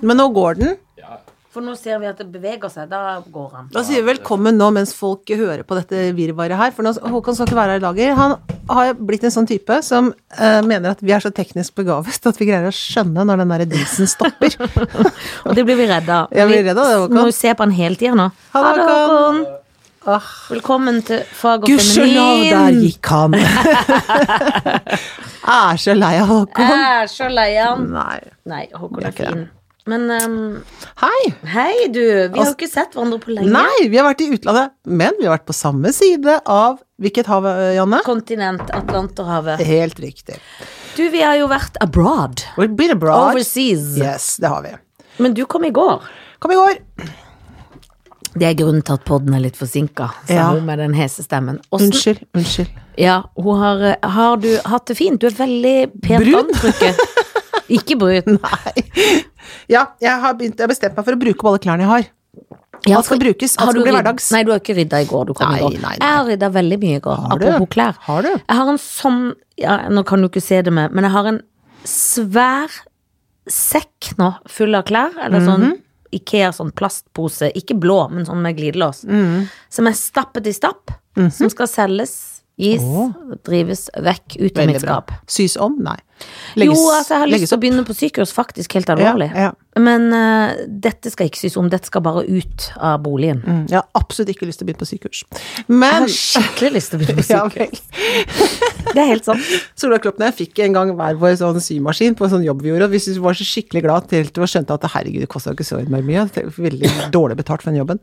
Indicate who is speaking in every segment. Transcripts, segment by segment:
Speaker 1: Men nå går den.
Speaker 2: For nå ser vi at det beveger seg. Da går han.
Speaker 1: Da sier vi velkommen nå mens folk hører på dette virvaret her. For nå, Håkon skal ikke være her i lager. Han har blitt en sånn type som eh, mener at vi er så teknisk begavet at vi greier å skjønne når den der dieselen stopper.
Speaker 2: Og det blir vi redda.
Speaker 1: Jeg blir redd av det, Håkon.
Speaker 2: Vi må jo se på han hele tida nå.
Speaker 1: Ha det, Håkon.
Speaker 2: Håkon. Velkommen til Fag og
Speaker 1: Gudskjelov, der
Speaker 2: feminin.
Speaker 1: gikk han! er så lei av Håkon.
Speaker 2: Jeg er så lei han.
Speaker 1: Nei.
Speaker 2: Nei, Håkon
Speaker 1: Vi er
Speaker 2: er
Speaker 1: ikke
Speaker 2: fin. Men ehm,
Speaker 1: Hei!
Speaker 2: hei, du. Vi har jo ikke sett hverandre på lenge.
Speaker 1: Nei, vi har vært i utlandet, men vi har vært på samme side av hvilket hav, eh, Janne?
Speaker 2: Kontinent Atlanterhavet.
Speaker 1: Helt riktig.
Speaker 2: Du, vi har jo vært abroad.
Speaker 1: We've been abroad.
Speaker 2: Overseas.
Speaker 1: Yes, det har vi.
Speaker 2: Men du kom i går.
Speaker 1: Kom i går.
Speaker 2: Det er grunnen til at podden er litt forsinka, sa
Speaker 1: Ja.
Speaker 2: hun med den hese stemmen. Åssen-
Speaker 1: Unnskyld. Unnskyld.
Speaker 2: Ja, hun har, eh, har du hatt det fint? Du er veldig pent
Speaker 1: Brun?
Speaker 2: antrykket. Ikke brun.
Speaker 1: Nei. Ja, jeg har, begynt, jeg har bestemt meg for å bruke opp alle klærne jeg har.
Speaker 2: Ja,
Speaker 1: Alt skal
Speaker 2: for-
Speaker 1: brukes, alt
Speaker 2: har
Speaker 1: skal
Speaker 2: du
Speaker 1: bli
Speaker 2: rydd-
Speaker 1: hverdags.
Speaker 2: Nei, du har ikke rydda i går. Du kom
Speaker 1: Nei,
Speaker 2: i går.
Speaker 1: nei, nei.
Speaker 2: Jeg har rydda veldig mye i går.
Speaker 1: Har du?
Speaker 2: apropos klær.
Speaker 1: Har du?
Speaker 2: Jeg har en sånn ja, Nå kan du ikke se det med, men jeg har en svær sekk nå full av klær. Eller sånn
Speaker 1: Mhm.
Speaker 2: Ikea, sånn plastpose. Ikke blå, men sånn med glidelås.
Speaker 1: Mhm.
Speaker 2: Som er stappet i stapp. Som skal selges, gis, drives vekk ut av mitt
Speaker 1: Veldig bra.
Speaker 2: skap.
Speaker 1: Sys om? Nei.
Speaker 2: jo, altså, jeg har lyst
Speaker 1: legges
Speaker 2: til å
Speaker 1: opp.
Speaker 2: begynne på sykehus, faktisk, helt alvorlig.
Speaker 1: Ja,
Speaker 2: Men eh, dette skal ikke sys om, dette skal bare ut av boligen.
Speaker 1: Mm, Jeg har absolutt ikke lyst til å begynne på sykehus.
Speaker 2: Jeg
Speaker 1: Men
Speaker 2: har skikkelig lyst til å begynne på
Speaker 1: ja,
Speaker 2: sykehus.
Speaker 1: vel.
Speaker 2: Det er helt sant.
Speaker 1: Solveig Kloppen og jeg fikk en gang hver vår sånn symaskin på en sånn jobb vi gjorde, og vi syntes vi var så skikkelig glad til til vi skjønte at herregud, det kosta jo ikke så innmari mye. Det er Veldig dårlig betalt for den jobben.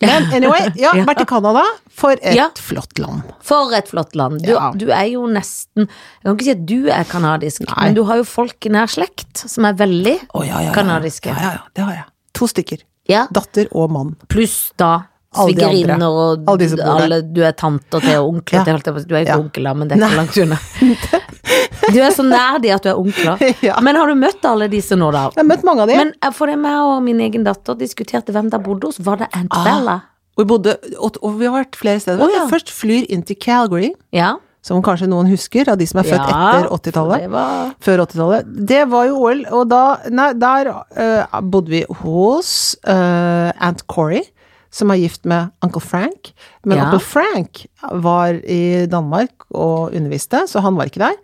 Speaker 1: Men anyway, ja,
Speaker 2: Ja.
Speaker 1: vært i Canada. For et
Speaker 2: Ja.
Speaker 1: flott land.
Speaker 2: For et flott land. Du,
Speaker 1: Ja.
Speaker 2: du er jo nesten Jeg kan ikke si at du er kanadisk,
Speaker 1: Nei.
Speaker 2: men du har jo folk i nær slekt som er veldig
Speaker 1: Å, ja, ja, ja.
Speaker 2: kanadiske.
Speaker 1: Ja, ja, ja, det har jeg. To stykker.
Speaker 2: Ja.
Speaker 1: Datter og mann.
Speaker 2: Pluss da
Speaker 1: Alle de andre.
Speaker 2: svigerinner og
Speaker 1: Alle de som bor der.
Speaker 2: alle du er tanter til og onkler
Speaker 1: Ja.
Speaker 2: til. holdt jeg på å si. Du er ikke
Speaker 1: Ja.
Speaker 2: onkel, da, men det er
Speaker 1: Nei.
Speaker 2: ikke langt unna. Du er så nær de at du er onkler.
Speaker 1: Ja.
Speaker 2: Men har du møtt alle disse nå, da?
Speaker 1: Jeg har møtt mange av de.
Speaker 2: Men eh, for det meg og min egen datter diskuterte hvem der bodde hos, var det Aunt Bella?
Speaker 1: Ah. Og vi bodde, og, og vi har vært flere steder.
Speaker 2: Å, ja.
Speaker 1: Jeg Først flyr inn til Calgary,
Speaker 2: Ja.
Speaker 1: som kanskje noen husker, av de som er født
Speaker 2: Ja,
Speaker 1: etter 80-tallet.
Speaker 2: det var-
Speaker 1: Før 80-tallet. Det var jo OL, og da Nei, der eh, bodde vi hos eh, Aunt Corrie, som er gift med onkel Frank. Men
Speaker 2: Ja.
Speaker 1: onkel Frank var i Danmark og underviste, så han var ikke der.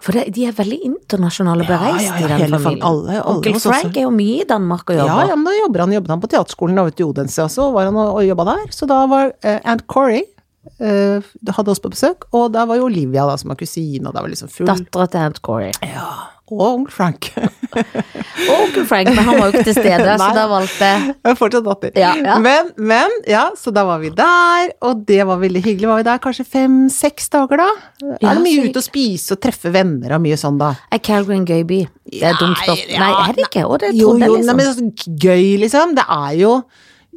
Speaker 2: For det, de er veldig internasjonale
Speaker 1: Ja,
Speaker 2: bereist
Speaker 1: ja, ja,
Speaker 2: i den
Speaker 1: hele fan-
Speaker 2: familien.
Speaker 1: alle- alle
Speaker 2: Onkel
Speaker 1: hos oss
Speaker 2: Frank
Speaker 1: også.
Speaker 2: er jo mye i Danmark og
Speaker 1: Ja,
Speaker 2: jobber.
Speaker 1: ja, men da jobber han, jobbet han på teaterskolen da, ute i Odense, og så var han og, og jobba der. Så da var eh, Aunt Corrie eh, hadde oss på besøk, og der var jo Olivia, da, som var kusine, og der var liksom full
Speaker 2: Dattera til Aunt Corrie.
Speaker 1: ja. Og onkel Frank.
Speaker 2: Og onkel Frank, men han var jo ikke til stede, så
Speaker 1: Nei.
Speaker 2: da valgte
Speaker 1: Jeg er fortsatt datter.
Speaker 2: Ja, ja.
Speaker 1: Men, men, ja, så da var vi der, og det var veldig hyggelig. Var vi der kanskje fem-seks dager, da?
Speaker 2: Ja,
Speaker 1: er det
Speaker 2: så
Speaker 1: mye
Speaker 2: hyggelig.
Speaker 1: ute og spise og treffe venner og mye sånn, da?
Speaker 2: Er Calgary en gøy by? Det er et dumt spørsmål.
Speaker 1: ja,
Speaker 2: Nei, er det ikke? Og det
Speaker 1: Jo,
Speaker 2: trodde
Speaker 1: jo,
Speaker 2: jeg
Speaker 1: nei,
Speaker 2: liksom.
Speaker 1: men sånn gøy, liksom. Det er jo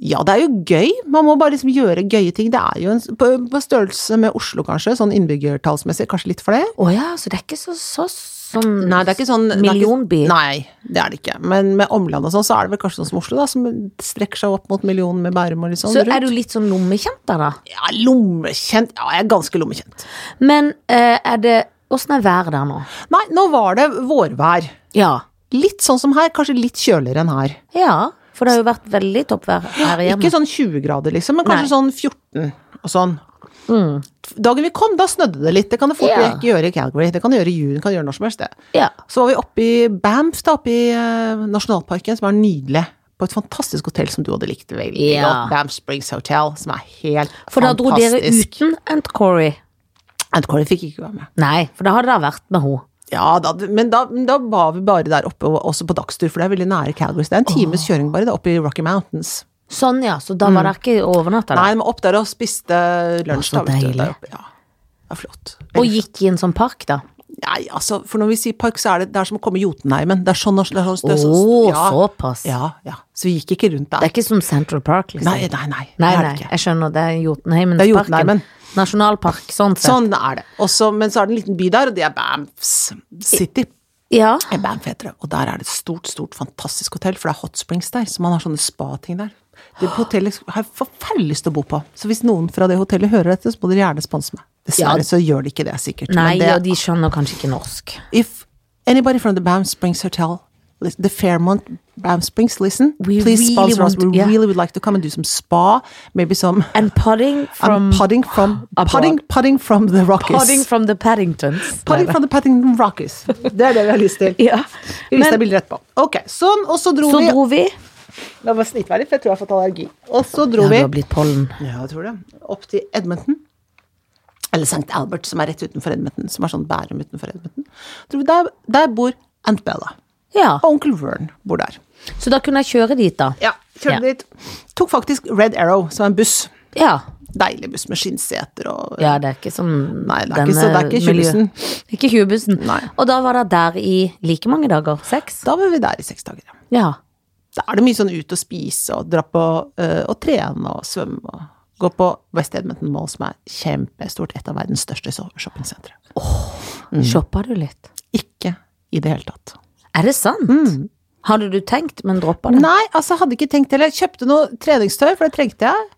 Speaker 1: Ja, det er jo gøy. Man må bare liksom gjøre gøye ting. Det er jo en, på, på størrelse med Oslo, kanskje, sånn innbyggertallsmessig. Kanskje litt for det?
Speaker 2: Å ja, så det er ikke så, så sånn
Speaker 1: Nei, det er ikke sånn det er ikke-
Speaker 2: millionby.
Speaker 1: Nei, det er det ikke. Men med omland og sånn, så er det vel kanskje sånn som Oslo, da, som strekker seg opp mot millionen med Bærum og litt sånn
Speaker 2: Så
Speaker 1: rundt.
Speaker 2: er du litt sånn lommekjent der, da?
Speaker 1: Ja, lommekjent. Ja, jeg er ganske lommekjent.
Speaker 2: Men eh, er det Åssen er været der nå?
Speaker 1: Nei, nå var det vårvær.
Speaker 2: Ja.
Speaker 1: Litt sånn som her, kanskje litt kjøligere enn her.
Speaker 2: Ja, for det har jo vært veldig toppvær her hjemme.
Speaker 1: Ikke sånn 20 grader, liksom, men kanskje
Speaker 2: Nei. Mm.
Speaker 1: sånn 14 og sånn. Dagen vi kom, da snødde det litt. Det kan det fort
Speaker 2: Ja.
Speaker 1: ikke gjøre i Calgary. Det kan det gjøre i juni, det kan det gjøre når som helst, det.
Speaker 2: Ja.
Speaker 1: Så var vi oppe i Banff, da, oppe i eh, nasjonalparken, som er nydelig. På et fantastisk hotell som du hadde likt veldig
Speaker 2: Ja.
Speaker 1: godt. Banff Springs Hotel, som er helt
Speaker 2: For da dro dere
Speaker 1: fantastisk.
Speaker 2: uten Aunt Corrie.
Speaker 1: Aunt Corrie fikk ikke være med.
Speaker 2: Nei, for da hadde det vært med henne.
Speaker 1: Ja, da, men da, men da var vi bare der oppe, og også på dagstur, for det er veldig nære Calgary. Så det er en times kjøring bare da, oppe i Rocky Mountains.
Speaker 2: Sånn, ja. Så da var det ikke overnatta?
Speaker 1: Mm.
Speaker 2: da.
Speaker 1: Nei, de var opp der og spiste lunsj.
Speaker 2: Å, så
Speaker 1: da, vet du,
Speaker 2: deilig.
Speaker 1: der oppe. Ja, det er flott.
Speaker 2: Og gikk i en sånn park, da?
Speaker 1: Nei, altså, for når vi sier park, så er det, det er som å komme i Jotunheimen. Det er sånn norsk det er sånn, det
Speaker 2: Å,
Speaker 1: er sånn,
Speaker 2: såpass.
Speaker 1: Ja, ja. Så vi gikk ikke rundt
Speaker 2: Det
Speaker 1: der.
Speaker 2: er ikke som Central Park, liksom?
Speaker 1: Nei, nei, nei. det er
Speaker 2: nei, nei,
Speaker 1: det ikke.
Speaker 2: jeg skjønner. Det er Jotunheimen.
Speaker 1: Det er Jotunheimen.
Speaker 2: Nasjonalpark, sånn sett.
Speaker 1: Sånn er det. Også, men så er det en liten by der, og det er Banffs City.
Speaker 2: Ja.
Speaker 1: Banff heter det. Og der er det et stort, stort, fantastisk hotell, for det er hot springs der, så man har sånne spating der. Det hotellet har jeg forferdelig lyst til å bo på. Så hvis noen fra det hotellet hører dette, så må dere gjerne sponse meg.
Speaker 2: Ja.
Speaker 1: Dessverre så gjør de ikke det, sikkert.
Speaker 2: Nei,
Speaker 1: men det,
Speaker 2: og de skjønner kanskje ikke norsk.
Speaker 1: If anybody from the Banff Springs Hotel, the Fairmont Bram Springs, listen.
Speaker 2: We
Speaker 1: Please
Speaker 2: really
Speaker 1: sponsor us.
Speaker 2: want-
Speaker 1: We
Speaker 2: yeah.
Speaker 1: really would like to come and do some spa. Maybe some
Speaker 2: And putting
Speaker 1: um,
Speaker 2: from
Speaker 1: putting from
Speaker 2: abroad.
Speaker 1: putting, putting from the Rockies.
Speaker 2: Putting from the Paddingtons.
Speaker 1: Putting from the Paddington Rockies. Det er det vi har lyst til.
Speaker 2: Ja.
Speaker 1: Vi viser deg
Speaker 2: Men
Speaker 1: bilder etterpå. Ok, sånn, og så dro
Speaker 2: så
Speaker 1: vi
Speaker 2: dro vi.
Speaker 1: La meg snitte meg litt, for jeg tror jeg har fått allergi. Og så
Speaker 2: Ja,
Speaker 1: dro
Speaker 2: du
Speaker 1: vi
Speaker 2: har blitt pollen.
Speaker 1: Ja, jeg tror det. Opp til Edmonton. Eller St. Albert, som er rett utenfor Edmonton. Som er sånn Bærum utenfor Edmonton. Tror vi Der, der bor Aunt Bella.
Speaker 2: Ja.
Speaker 1: Og onkel Vern bor der.
Speaker 2: Så da kunne jeg kjøre dit, da.
Speaker 1: Ja, kjørte
Speaker 2: Ja.
Speaker 1: dit. Tok faktisk Red Arrow, som er en buss.
Speaker 2: Ja.
Speaker 1: Deilig buss med skinnseter og
Speaker 2: Ja, det er ikke sånn
Speaker 1: Nei, det er ikke så- det er ikke tjuvbussen.
Speaker 2: Ikke tjuvbussen.
Speaker 1: Nei.
Speaker 2: Og da var det der i like mange dager. Seks?
Speaker 1: Da var vi der i seks dager. ja.
Speaker 2: Ja.
Speaker 1: Da er det mye sånn ut og spise og dra på eh, og trene og svømme og gå på West Edmonton Mall, som er kjempestort, et av verdens største so- shoppingsentre. Mm.
Speaker 2: Shoppa du litt?
Speaker 1: Ikke i det hele tatt.
Speaker 2: Er det sant? Hadde du tenkt, men droppa det?
Speaker 1: Nei, altså hadde ikke tenkt heller. Kjøpte noe treningstøy, for det trengte jeg.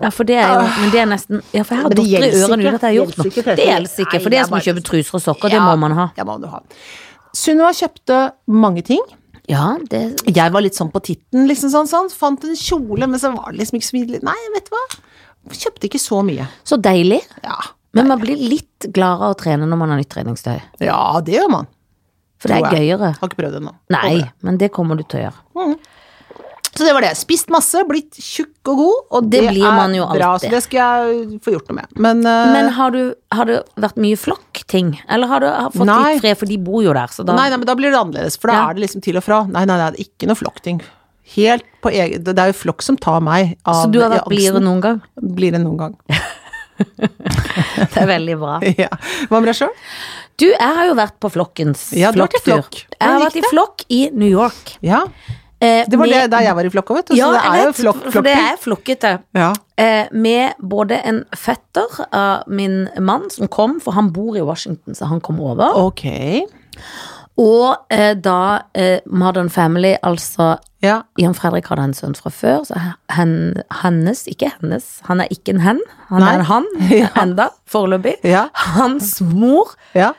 Speaker 2: Ja, for det er jo men det er nesten Ja, for jeg har
Speaker 1: Mm. Ah. Men det gjelder ikke.
Speaker 2: dotter i ørene uten at jeg har gjort
Speaker 1: Gjelder ikke,
Speaker 2: noe.
Speaker 1: Tete.
Speaker 2: Det gjelder ikke,
Speaker 1: Nei,
Speaker 2: for det
Speaker 1: jeg
Speaker 2: er som å
Speaker 1: bare-
Speaker 2: kjøpe truser og sokker, det må man ha.
Speaker 1: Ja, må du ha. Sunniva kjøpte mange ting.
Speaker 2: Ja, det
Speaker 1: Jeg var litt sånn på titten, liksom sånn, sånn. Fant en kjole, men så var det liksom ikke så mye Nei, vet du hva. Kjøpte ikke så mye.
Speaker 2: Så deilig.
Speaker 1: Ja,
Speaker 2: Men man blir litt gladere av å trene når man har nytt treningstøy.
Speaker 1: ja det gjør man.
Speaker 2: For det er
Speaker 1: Tror jeg.
Speaker 2: gøyere.
Speaker 1: Har ikke prøvd det ennå.
Speaker 2: Nei, men det kommer du til å gjøre.
Speaker 1: Så det var det. Spist masse, blitt tjukk og god, og
Speaker 2: Det
Speaker 1: det,
Speaker 2: blir
Speaker 1: er
Speaker 2: man jo
Speaker 1: bra.
Speaker 2: alltid.
Speaker 1: Så det skal jeg få gjort noe med. Men, eh,
Speaker 2: Men har, du, har det vært mye flokkting? Eller har du har fått
Speaker 1: Nei.
Speaker 2: litt fred, for de bor jo der, så da
Speaker 1: nei, nei, men da blir det annerledes, for da
Speaker 2: Ja.
Speaker 1: er det liksom til og fra. Nei, nei, nei, det er ikke noe flokkting. Helt på egen Det er jo flokk som tar meg av
Speaker 2: Så du har vært
Speaker 1: angsten.
Speaker 2: blidere noen gang?
Speaker 1: Blir det noen gang.
Speaker 2: Det er veldig bra.
Speaker 1: ja. Hva med deg sjøl?
Speaker 2: Du, jeg har jo vært på flokkens
Speaker 1: Ja, du har vært i
Speaker 2: flokktur.
Speaker 1: flokk.
Speaker 2: Jeg har
Speaker 1: Hvordan
Speaker 2: vært i flokk i New York.
Speaker 1: Ja.
Speaker 2: Eh,
Speaker 1: Det var det
Speaker 2: med-
Speaker 1: der jeg var i flokka, vet du. Så
Speaker 2: Ja,
Speaker 1: det
Speaker 2: jeg
Speaker 1: er jo
Speaker 2: vet,
Speaker 1: flokk,
Speaker 2: For det
Speaker 1: flokking.
Speaker 2: er flokkete.
Speaker 1: Ja.
Speaker 2: Eh, med både en fetter av min mann som kom, for han bor i Washington, så han kom over.
Speaker 1: Ok.
Speaker 2: Og eh, da eh, Modern Family, altså
Speaker 1: Ja.
Speaker 2: Jan Fredrik hadde en sønn fra før, så hen, hennes, ikke hennes, han er ikke en hen, han
Speaker 1: Nei.
Speaker 2: er en han
Speaker 1: Ja.
Speaker 2: enda, foreløpig.
Speaker 1: Ja.
Speaker 2: Hans mor,
Speaker 1: Ja.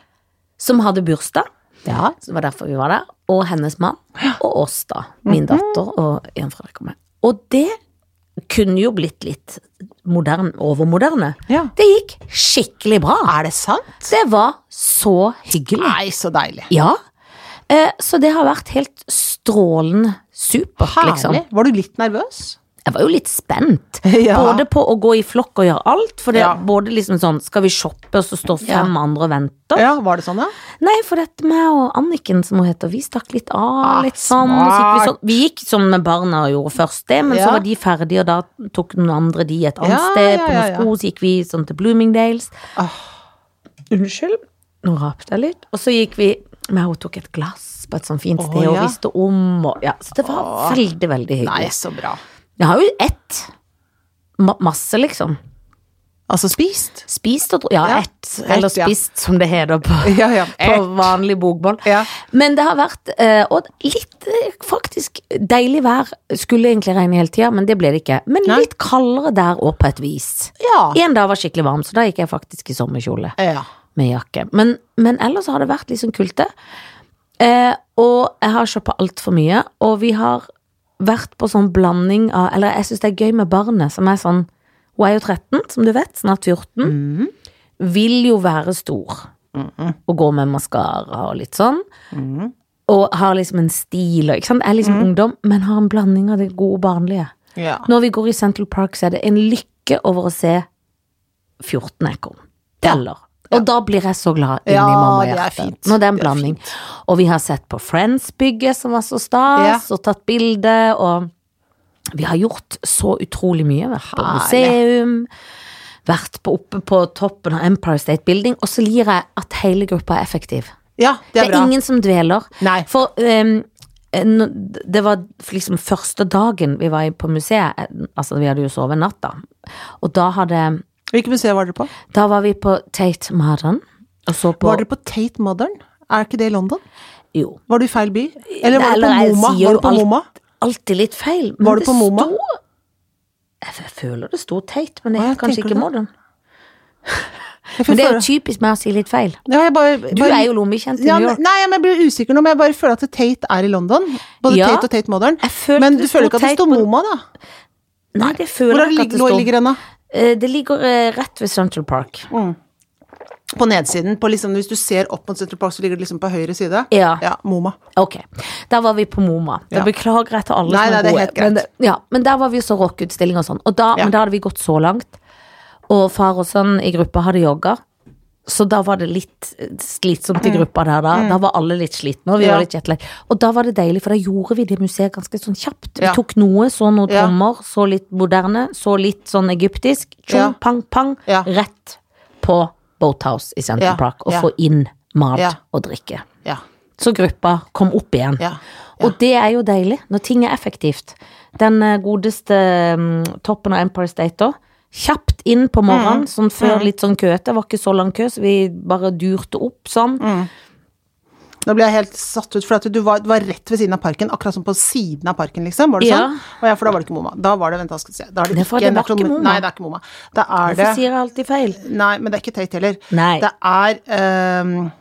Speaker 2: som hadde bursdag,
Speaker 1: ja.
Speaker 2: så det var derfor vi var der, og hennes mann, og oss da, min
Speaker 1: Mhm.
Speaker 2: datter og Jan Fredrik og meg. Og det kunne jo blitt litt modern, overmoderne.
Speaker 1: Ja.
Speaker 2: Det gikk skikkelig bra.
Speaker 1: Er det sant?
Speaker 2: Det var så hyggelig.
Speaker 1: Nei, så deilig.
Speaker 2: Ja. Eh, Så det har vært helt strålende supert,
Speaker 1: Herlig.
Speaker 2: liksom.
Speaker 1: Var du litt nervøs?
Speaker 2: Jeg var jo litt spent.
Speaker 1: Ja.
Speaker 2: Både på å gå i flokk og gjøre alt. For det
Speaker 1: Ja.
Speaker 2: både liksom sånn Skal vi shoppe, og så står fem andre og venter?
Speaker 1: Ja, var det sånn, ja?
Speaker 2: Nei, for dette med og Anniken, som hun heter, vi stakk litt av.
Speaker 1: Ah,
Speaker 2: litt sånn, og så gikk vi,
Speaker 1: smart.
Speaker 2: sånn. vi gikk sånn med barna og gjorde først det, men
Speaker 1: Ja.
Speaker 2: så var de ferdige, og da tok noen andre de et annet
Speaker 1: Ja,
Speaker 2: sted.
Speaker 1: ja,
Speaker 2: På
Speaker 1: ja,
Speaker 2: noen
Speaker 1: ja.
Speaker 2: sko, så gikk vi sånn til Bloomingdales. Unnskyld, nå rapte jeg litt. Og så gikk vi Men hun tok et glass på et sånn fint sted,
Speaker 1: Å,
Speaker 2: og
Speaker 1: ja.
Speaker 2: visste om, og ja. Så det var veldig, veldig hyggelig.
Speaker 1: Nei, så bra.
Speaker 2: Jeg har jo ett. Ma masse, liksom.
Speaker 1: Altså spist?
Speaker 2: Spist og dro... Ja,
Speaker 1: Ja,
Speaker 2: ett. Eller
Speaker 1: ett, ja.
Speaker 2: spist, som det heter på,
Speaker 1: Ja, ja. Eh,
Speaker 2: på vanlig bokmål.
Speaker 1: Ja.
Speaker 2: Men det har vært eh, Og litt eh, faktisk deilig vær. Skulle egentlig regne hele tida, men det ble det ikke. Men
Speaker 1: Nei.
Speaker 2: litt kaldere der òg, på et vis.
Speaker 1: Ja.
Speaker 2: En dag var skikkelig varm, så da gikk jeg faktisk i sommerkjole
Speaker 1: Ja.
Speaker 2: med jakke. Men, men ellers har det vært liksom kulte. Eh, og jeg har shoppa altfor mye. Og vi har vært på sånn blanding av Eller jeg syns det er gøy med barnet, som er sånn Hun er jo 13, som du vet. Snart 14. Vil jo være stor. Og gå med maskara og litt sånn. Og har liksom en stil og ikke sant? Er liksom ungdom, men har en blanding av det gode og barnlige.
Speaker 1: Ja.
Speaker 2: Når vi går i Central Park, så er det en lykke over å se 14 ekorn. Teller. Og da blir jeg så glad inni
Speaker 1: Ja, det er
Speaker 2: mammahjertet.
Speaker 1: fint.
Speaker 2: Når det er en
Speaker 1: Det er
Speaker 2: blanding. og vi har sett på Friends-bygget, som var så stas, og tatt bilde, og vi har gjort så utrolig mye. Vært på
Speaker 1: Herlig.
Speaker 2: museum, vært på, oppe på toppen av Empire State Building, og så lir jeg at hele gruppa er effektiv.
Speaker 1: ja, det
Speaker 2: Det
Speaker 1: er
Speaker 2: er,
Speaker 1: bra.
Speaker 2: ingen som dveler.
Speaker 1: Nei.
Speaker 2: For ehm, eh, nå- det var liksom første dagen vi var i- på museet, eh, altså vi hadde jo sovet en natt da, og da hadde,
Speaker 1: Hvilket museum var dere på?
Speaker 2: da var vi på Tate Modern, og så på
Speaker 1: Var dere på Tate Modern? Er ikke det i London?
Speaker 2: Jo.
Speaker 1: Var du i feil by? Eller var du
Speaker 2: Eller
Speaker 1: på
Speaker 2: jeg
Speaker 1: MoMA?
Speaker 2: sier
Speaker 1: Var
Speaker 2: jo
Speaker 1: du på
Speaker 2: alt-
Speaker 1: MoMA?
Speaker 2: Alltid litt feil. men
Speaker 1: Var du på
Speaker 2: det
Speaker 1: MoMA?
Speaker 2: sto- Jeg f- føler det sto Tate, men det
Speaker 1: Å,
Speaker 2: er
Speaker 1: ja,
Speaker 2: kanskje
Speaker 1: tenker
Speaker 2: ikke
Speaker 1: du det?
Speaker 2: Modern.
Speaker 1: Jeg får
Speaker 2: Men det er jo
Speaker 1: føle-
Speaker 2: typisk meg å si litt feil.
Speaker 1: Ja, jeg bare,
Speaker 2: Du
Speaker 1: bare-
Speaker 2: er jo lommekjent i
Speaker 1: ja,
Speaker 2: New
Speaker 1: men-
Speaker 2: York.
Speaker 1: Nei, men jeg blir usikker nå, men jeg bare føler at Tate er i London. Både
Speaker 2: Ja.
Speaker 1: Tate og Tate Modern.
Speaker 2: Jeg følte
Speaker 1: Men
Speaker 2: det
Speaker 1: du
Speaker 2: sto
Speaker 1: føler ikke at det
Speaker 2: Tate
Speaker 1: står
Speaker 2: på-
Speaker 1: Moma, da?
Speaker 2: Nei, det føler
Speaker 1: Hvordan
Speaker 2: jeg ikke at
Speaker 1: ligger,
Speaker 2: det
Speaker 1: nå
Speaker 2: står.
Speaker 1: ligger den, da?
Speaker 2: Eh, Det ligger eh, rett ved Central Park.
Speaker 1: På nedsiden. På liksom, hvis du ser opp mot Central Park, så ligger det liksom på høyre side.
Speaker 2: Ja.
Speaker 1: ja Moma.
Speaker 2: Ok, der var vi på MoMA. Da
Speaker 1: Ja.
Speaker 2: Beklager jeg til alle
Speaker 1: Nei,
Speaker 2: som
Speaker 1: nei,
Speaker 2: er
Speaker 1: det er
Speaker 2: gode.
Speaker 1: helt greit.
Speaker 2: Men, det- ja, men der var vi jo så rockeutstilling og sånn. Og da,
Speaker 1: Ja.
Speaker 2: Men da hadde vi gått så langt. Og far og sønn i gruppa hadde jogga. Så da var det litt eh, slitsomt i gruppa der da. Da var alle litt slitne, og vi
Speaker 1: Mm. Ja.
Speaker 2: var litt jetlag. Og da var det deilig, for da gjorde vi det museet ganske sånn kjapt. Vi
Speaker 1: Ja.
Speaker 2: tok noe, så noen
Speaker 1: Ja.
Speaker 2: trommer, så litt moderne, så litt sånn egyptisk.
Speaker 1: Ja.
Speaker 2: Tjong, pang, pang.
Speaker 1: Ja.
Speaker 2: Rett på Boathouse i Central
Speaker 1: Ja.
Speaker 2: Park, og
Speaker 1: Ja.
Speaker 2: få inn mat
Speaker 1: Ja.
Speaker 2: og drikke.
Speaker 1: Ja.
Speaker 2: Så gruppa kom opp igjen.
Speaker 1: Ja.
Speaker 2: Og det er jo deilig, når ting er effektivt. Den eh, godeste mm, toppen av Empire State da. Kjapt inn
Speaker 1: Mhm.
Speaker 2: på morgenen, sånn før litt sånn køete. Det var ikke så lang kø, så vi bare durte opp sånn.
Speaker 1: Mhm, Nå ble jeg helt satt ut, for at du var, du var rett ved siden av parken, akkurat som på siden av parken, liksom. Var det
Speaker 2: Ja.
Speaker 1: sånn? Og ja, for da var det ikke Moma. Da var det, vent, da skal vi se. Da er det
Speaker 2: Nei, for
Speaker 1: ikke,
Speaker 2: det var ikke
Speaker 1: nasjonal-
Speaker 2: MoMA.
Speaker 1: Nei, det er ikke Moma. Da er
Speaker 2: Hvorfor
Speaker 1: det
Speaker 2: sier jeg alltid feil?
Speaker 1: Nei, men det er ikke Tate heller.
Speaker 2: Nei.
Speaker 1: Det er ehm,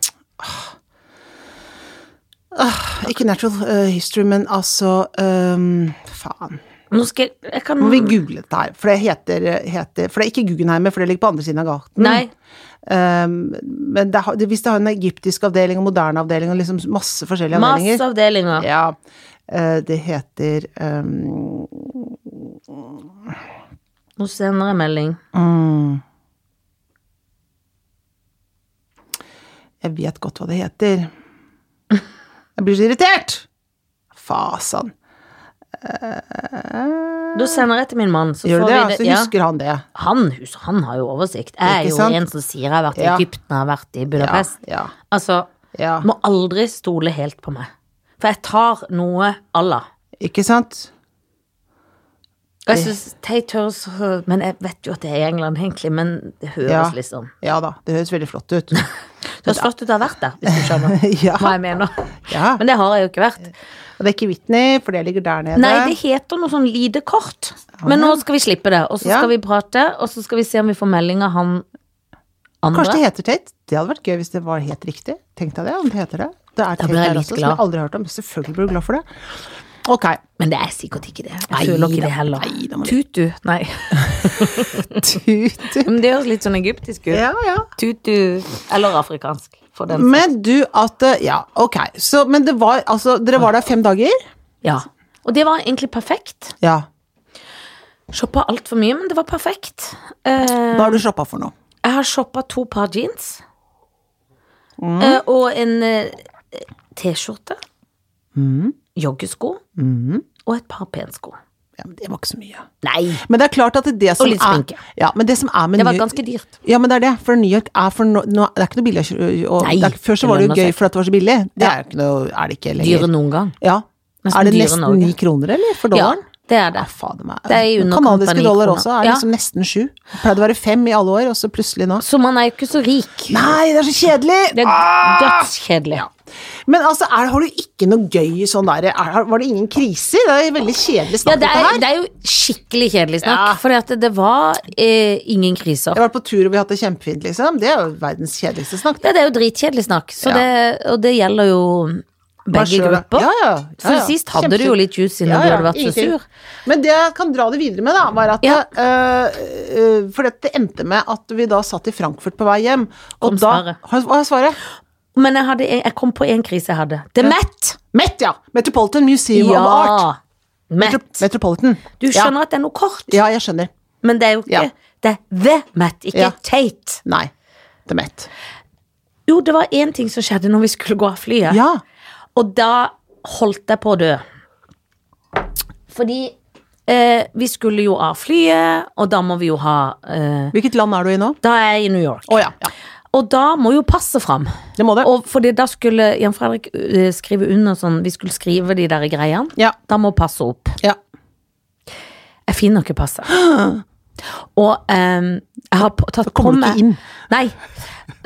Speaker 1: ah, Ikke Natural eh, History, men altså ehm, Faen.
Speaker 2: Nå skal jeg, jeg kan
Speaker 1: Må vi google dette her? For det heter, heter For det er ikke Guggenheimer, for det ligger på andre siden av gaten.
Speaker 2: Nei.
Speaker 1: Ehm, men det, har- det, hvis det har en egyptisk avdeling og moderne avdeling og liksom masse forskjellige avdelinger
Speaker 2: Masse avdelinger.
Speaker 1: ja. Eh, det heter ehm,
Speaker 2: Nå sender jeg melding.
Speaker 1: Jeg vet godt hva det heter. Jeg blir så irritert! Fasan.
Speaker 2: Da sender jeg til min mann. Så
Speaker 1: Gjør
Speaker 2: får
Speaker 1: du det, ja?
Speaker 2: vi
Speaker 1: Så
Speaker 2: ja.
Speaker 1: husker han det.
Speaker 2: Han, hus- han har jo oversikt. Jeg er
Speaker 1: Ikke
Speaker 2: jo
Speaker 1: sant?
Speaker 2: en som sier jeg har vært i
Speaker 1: Ja.
Speaker 2: Egypten, jeg har vært i
Speaker 1: Ja,
Speaker 2: Budapest.
Speaker 1: ja,
Speaker 2: Altså,
Speaker 1: ja.
Speaker 2: må aldri stole helt på meg. For jeg tar noe Allah.
Speaker 1: Ikke sant?
Speaker 2: Jeg synes Tate høres Men jeg vet jo at det er i England, egentlig, men det høres
Speaker 1: Ja.
Speaker 2: liksom
Speaker 1: Ja da, det høres veldig flott ut.
Speaker 2: Det høres flott ut å ha vært der, hvis du skjønner
Speaker 1: ja.
Speaker 2: hva jeg mener.
Speaker 1: Ja.
Speaker 2: Men det har jeg jo ikke vært.
Speaker 1: Og det er ikke Whitney, for det ligger der nede.
Speaker 2: Nei, det heter noe sånn lite kort. Men nå skal vi slippe det, og så
Speaker 1: Ja.
Speaker 2: skal vi prate, og så skal vi se om vi får melding av han
Speaker 1: Kanskje
Speaker 2: andre.
Speaker 1: det heter Tate? Det hadde vært gøy hvis det var helt riktig. Tenk deg det, om det heter det. Det er Tate
Speaker 2: ble jeg
Speaker 1: der
Speaker 2: litt
Speaker 1: også, som
Speaker 2: glad.
Speaker 1: jeg aldri har hørt om. Selvfølgelig blir du glad for det. Ok.
Speaker 2: Men det er sikkert ikke det. Jeg
Speaker 1: Nei,
Speaker 2: føler ikke
Speaker 1: da-
Speaker 2: det heller.
Speaker 1: nei, da må
Speaker 2: Tutu. Nei.
Speaker 1: Tut.
Speaker 2: Men det høres litt sånn egyptisk ut.
Speaker 1: Ja, ja.
Speaker 2: Tutu. Eller afrikansk, for den saks
Speaker 1: Men du, at eh, Ja, ok. Så, men det var altså Dere var der fem dager?
Speaker 2: Ja. Og det var egentlig perfekt.
Speaker 1: Ja.
Speaker 2: Shoppa altfor mye, men det var perfekt. Eh,
Speaker 1: Hva har du shoppa for noe?
Speaker 2: jeg har shoppa to par jeans. Eh, og en eh, T-skjorte. Joggesko. Og et par pensko.
Speaker 1: Ja, men det var ikke så mye.
Speaker 2: Nei!
Speaker 1: Men det er klart at det som
Speaker 2: litt sminke.
Speaker 1: er Ja, men det som er med
Speaker 2: Det var
Speaker 1: New-
Speaker 2: ganske dyrt.
Speaker 1: Ja, men det er det. For New York er for nå, nå, Det er ikke noe billig å kjø- og,
Speaker 2: Nei,
Speaker 1: det er, Før
Speaker 2: det
Speaker 1: så var det
Speaker 2: lønner
Speaker 1: jo gøy
Speaker 2: seg.
Speaker 1: for at det var så billig. Det er, ikke noe, er det ikke lenger.
Speaker 2: Dyrere enn noen gang.
Speaker 1: Ja.
Speaker 2: Nesten
Speaker 1: er det
Speaker 2: dyrere enn
Speaker 1: nesten
Speaker 2: Norge.
Speaker 1: ni kroner, eller? For
Speaker 2: Ja,
Speaker 1: dollaren?
Speaker 2: det er det.
Speaker 1: Ja, fader meg.
Speaker 2: Det er i underkant av
Speaker 1: Kanadiske
Speaker 2: ni
Speaker 1: dollar
Speaker 2: kroner.
Speaker 1: også er
Speaker 2: Ja.
Speaker 1: liksom nesten sju. Pleide å være fem i alle år, og så plutselig nå.
Speaker 2: Så man er jo ikke så rik.
Speaker 1: Nei, det er så kjedelig!
Speaker 2: Det er dødskjedelig.
Speaker 1: Men altså, er, har du ikke noe gøy sånn der? Er, var det ingen kriser? Det er veldig kjedelig
Speaker 2: Ja,
Speaker 1: snakk,
Speaker 2: det
Speaker 1: dette
Speaker 2: er,
Speaker 1: her.
Speaker 2: det er jo skikkelig kjedelig snakk,
Speaker 1: Ja.
Speaker 2: Fordi for det var eh, ingen kriser.
Speaker 1: Jeg har vært på tur og vi har hatt det kjempefint, liksom. Det er jo verdens kjedeligste snakk.
Speaker 2: Ja, det er jo dritkjedelig snakk, så
Speaker 1: Ja.
Speaker 2: det, og det gjelder jo
Speaker 1: Bare
Speaker 2: begge
Speaker 1: sjøl, da.
Speaker 2: grupper.
Speaker 1: Ja, ja, ja,
Speaker 2: For
Speaker 1: ja.
Speaker 2: sist hadde du jo litt juice siden
Speaker 1: Ja,
Speaker 2: du
Speaker 1: ja,
Speaker 2: hadde vært
Speaker 1: ingenting.
Speaker 2: så sur.
Speaker 1: Men det jeg kan dra det videre med, da, var at
Speaker 2: Ja.
Speaker 1: eh, eh, For dette endte med at vi da satt i Frankfurt på vei hjem, og
Speaker 2: Kom
Speaker 1: da
Speaker 2: svaret.
Speaker 1: Har- Hva er svaret?
Speaker 2: Men jeg, hadde, jeg kom på én krise jeg hadde. Det er mett!
Speaker 1: Met, ja! Metropolitan Museum
Speaker 2: Ja.
Speaker 1: of Art.
Speaker 2: Mett.
Speaker 1: Metropolitan.
Speaker 2: Du skjønner at det er noe kort,
Speaker 1: Ja, jeg skjønner.
Speaker 2: men det er jo ikke
Speaker 1: Ja.
Speaker 2: Det er The Mett, ikke
Speaker 1: Ja.
Speaker 2: Tate.
Speaker 1: Nei. The Met.
Speaker 2: Jo, det var én ting som skjedde når vi skulle gå av flyet,
Speaker 1: Ja.
Speaker 2: og da holdt jeg på å dø. Fordi eh, vi skulle jo av flyet, og da må vi jo ha eh,
Speaker 1: Hvilket land er du i nå?
Speaker 2: Da er jeg i New York.
Speaker 1: Å ja. ja.
Speaker 2: Og da må jo passet fram.
Speaker 1: Det må det.
Speaker 2: Og fordi da skulle Jan Fredrik eh, skrive under sånn Vi skulle skrive de der greiene.
Speaker 1: Ja.
Speaker 2: Da må passet opp.
Speaker 1: ja.
Speaker 2: Jeg finner ikke passet. Og eh, Jeg har på- tatt
Speaker 1: Da kommer
Speaker 2: på
Speaker 1: du ikke
Speaker 2: meg
Speaker 1: inn.
Speaker 2: Nei.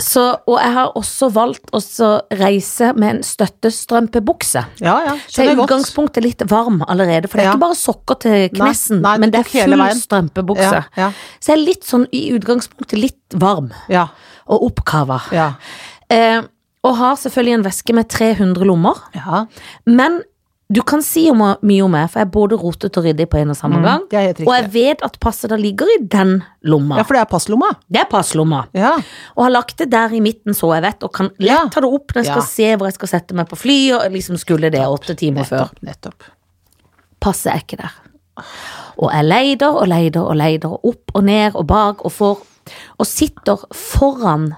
Speaker 2: Så, og jeg har også valgt å så reise med en støttestrømpebukse.
Speaker 1: Ja, ja.
Speaker 2: Så jeg
Speaker 1: Skjønner
Speaker 2: er i
Speaker 1: godt.
Speaker 2: utgangspunktet litt varm allerede, for det er
Speaker 1: Ja.
Speaker 2: ikke bare sokker til knesen,
Speaker 1: nei, du
Speaker 2: men det er
Speaker 1: tok hele
Speaker 2: full
Speaker 1: veien.
Speaker 2: strømpebukse.
Speaker 1: Ja, ja.
Speaker 2: Så jeg er litt sånn i utgangspunktet litt varm
Speaker 1: Ja,
Speaker 2: og oppkava.
Speaker 1: ja.
Speaker 2: Eh, og har selvfølgelig en veske med 300 lommer.
Speaker 1: ja.
Speaker 2: Men du kan si om, mye om meg, for jeg er både rotete og ryddig på en og samme gang.
Speaker 1: Mm, det er helt
Speaker 2: Og jeg
Speaker 1: riktig.
Speaker 2: vet at passet da ligger i den lomma.
Speaker 1: Ja, for det er passlomma.
Speaker 2: Det er passlomma.
Speaker 1: Ja.
Speaker 2: Og har lagt det der i midten, så jeg vet, og kan lett
Speaker 1: Ja.
Speaker 2: ta det opp når jeg skal
Speaker 1: Ja.
Speaker 2: se hvor jeg skal sette meg på fly, og liksom skulle det åtte timer før.
Speaker 1: Nettopp, nettopp.
Speaker 2: Passet er ikke der. Og jeg leider og leider og leider, og opp og ned og bak, og får Og sitter foran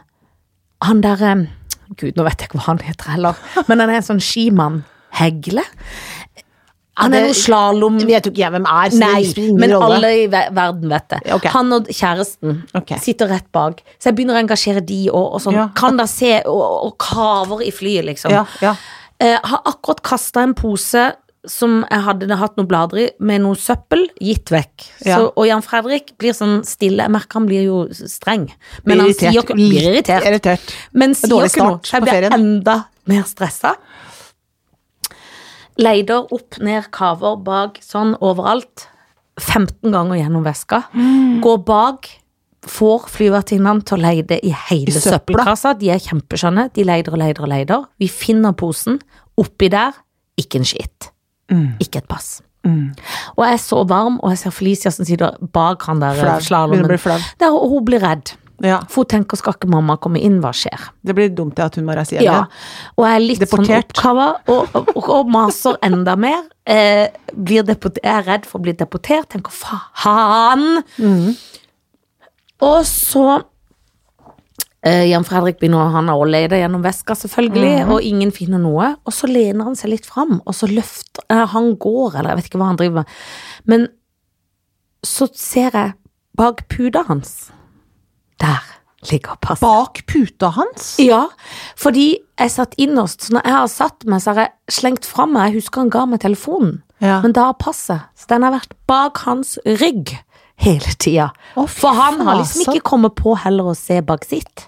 Speaker 2: han derre Gud, nå vet jeg ikke hva han heter heller, men han er en sånn skimann. Hegle? Han er
Speaker 1: Det-
Speaker 2: noe slalåm...
Speaker 1: Vet jo ikke jeg hvem er, så det spiller
Speaker 2: Nei,
Speaker 1: ingen
Speaker 2: men
Speaker 1: rolle.
Speaker 2: alle i ver- verden vet det.
Speaker 1: Ja, ok.
Speaker 2: Han og kjæresten
Speaker 1: Ok.
Speaker 2: sitter rett bak. Så jeg begynner å engasjere de og, og sånn.
Speaker 1: Ja.
Speaker 2: Kan da se, og, og kaver i flyet, liksom.
Speaker 1: Ja, ja.
Speaker 2: Eh, har akkurat kasta en pose som jeg hadde hatt noen blader i, med noe søppel, gitt vekk.
Speaker 1: Ja.
Speaker 2: Så, og Jan Fredrik blir sånn stille. Jeg merker han blir jo streng.
Speaker 1: Blir
Speaker 2: Men han
Speaker 1: irritert.
Speaker 2: sier ikke Blir irritert.
Speaker 1: Irritert.
Speaker 2: Men sier
Speaker 1: dårlig
Speaker 2: ikke noe.
Speaker 1: start
Speaker 2: Jeg
Speaker 1: på
Speaker 2: blir
Speaker 1: ferien.
Speaker 2: enda mer stressa. Leider opp, ned, kaver, bak, sånn, overalt. 15 ganger gjennom veska.
Speaker 1: Mm.
Speaker 2: Går bak. Får flyvertinnene til å leide i hele
Speaker 1: I søpla.
Speaker 2: søppelkassa. De er kjempeskjønne. De leider og leider og leider. Vi finner posen. Oppi der, ikke en skitt.
Speaker 1: Mm.
Speaker 2: Ikke et pass. Og jeg er så varm, og jeg ser Felicia som sitter bak han der
Speaker 1: Flau. Begynner å
Speaker 2: slalåmen.
Speaker 1: bli flau.
Speaker 2: Der, og hun blir redd.
Speaker 1: Ja.
Speaker 2: For hun tenker, skal ikke mamma komme inn, hva skjer?
Speaker 1: Det blir dumt det at hun må reise hjem
Speaker 2: Ja,
Speaker 1: igjen.
Speaker 2: og jeg er litt sånn
Speaker 1: Deportert.
Speaker 2: oppkava og, og, og maser enda mer. Eh, blir deportert, jeg er redd for å bli deportert. Tenker faen! Og så eh, Jan Fredrik begynner å- han har å lete gjennom veska, selvfølgelig, og ingen finner noe. Og så lener han seg litt fram, og så løfter eh, Han går, eller jeg vet ikke hva han driver med. Men så ser jeg bak puta hans. Der ligger passet.
Speaker 1: Bak puta hans?
Speaker 2: Ja, fordi jeg satt innerst, så når jeg har satt meg, så har jeg slengt fram meg. Jeg husker han ga meg telefonen,
Speaker 1: Ja.
Speaker 2: men da har passet. Så den har vært bak hans rygg hele tida.
Speaker 1: Å, fy
Speaker 2: For han har liksom
Speaker 1: fasen.
Speaker 2: ikke kommet på heller å se bak sitt.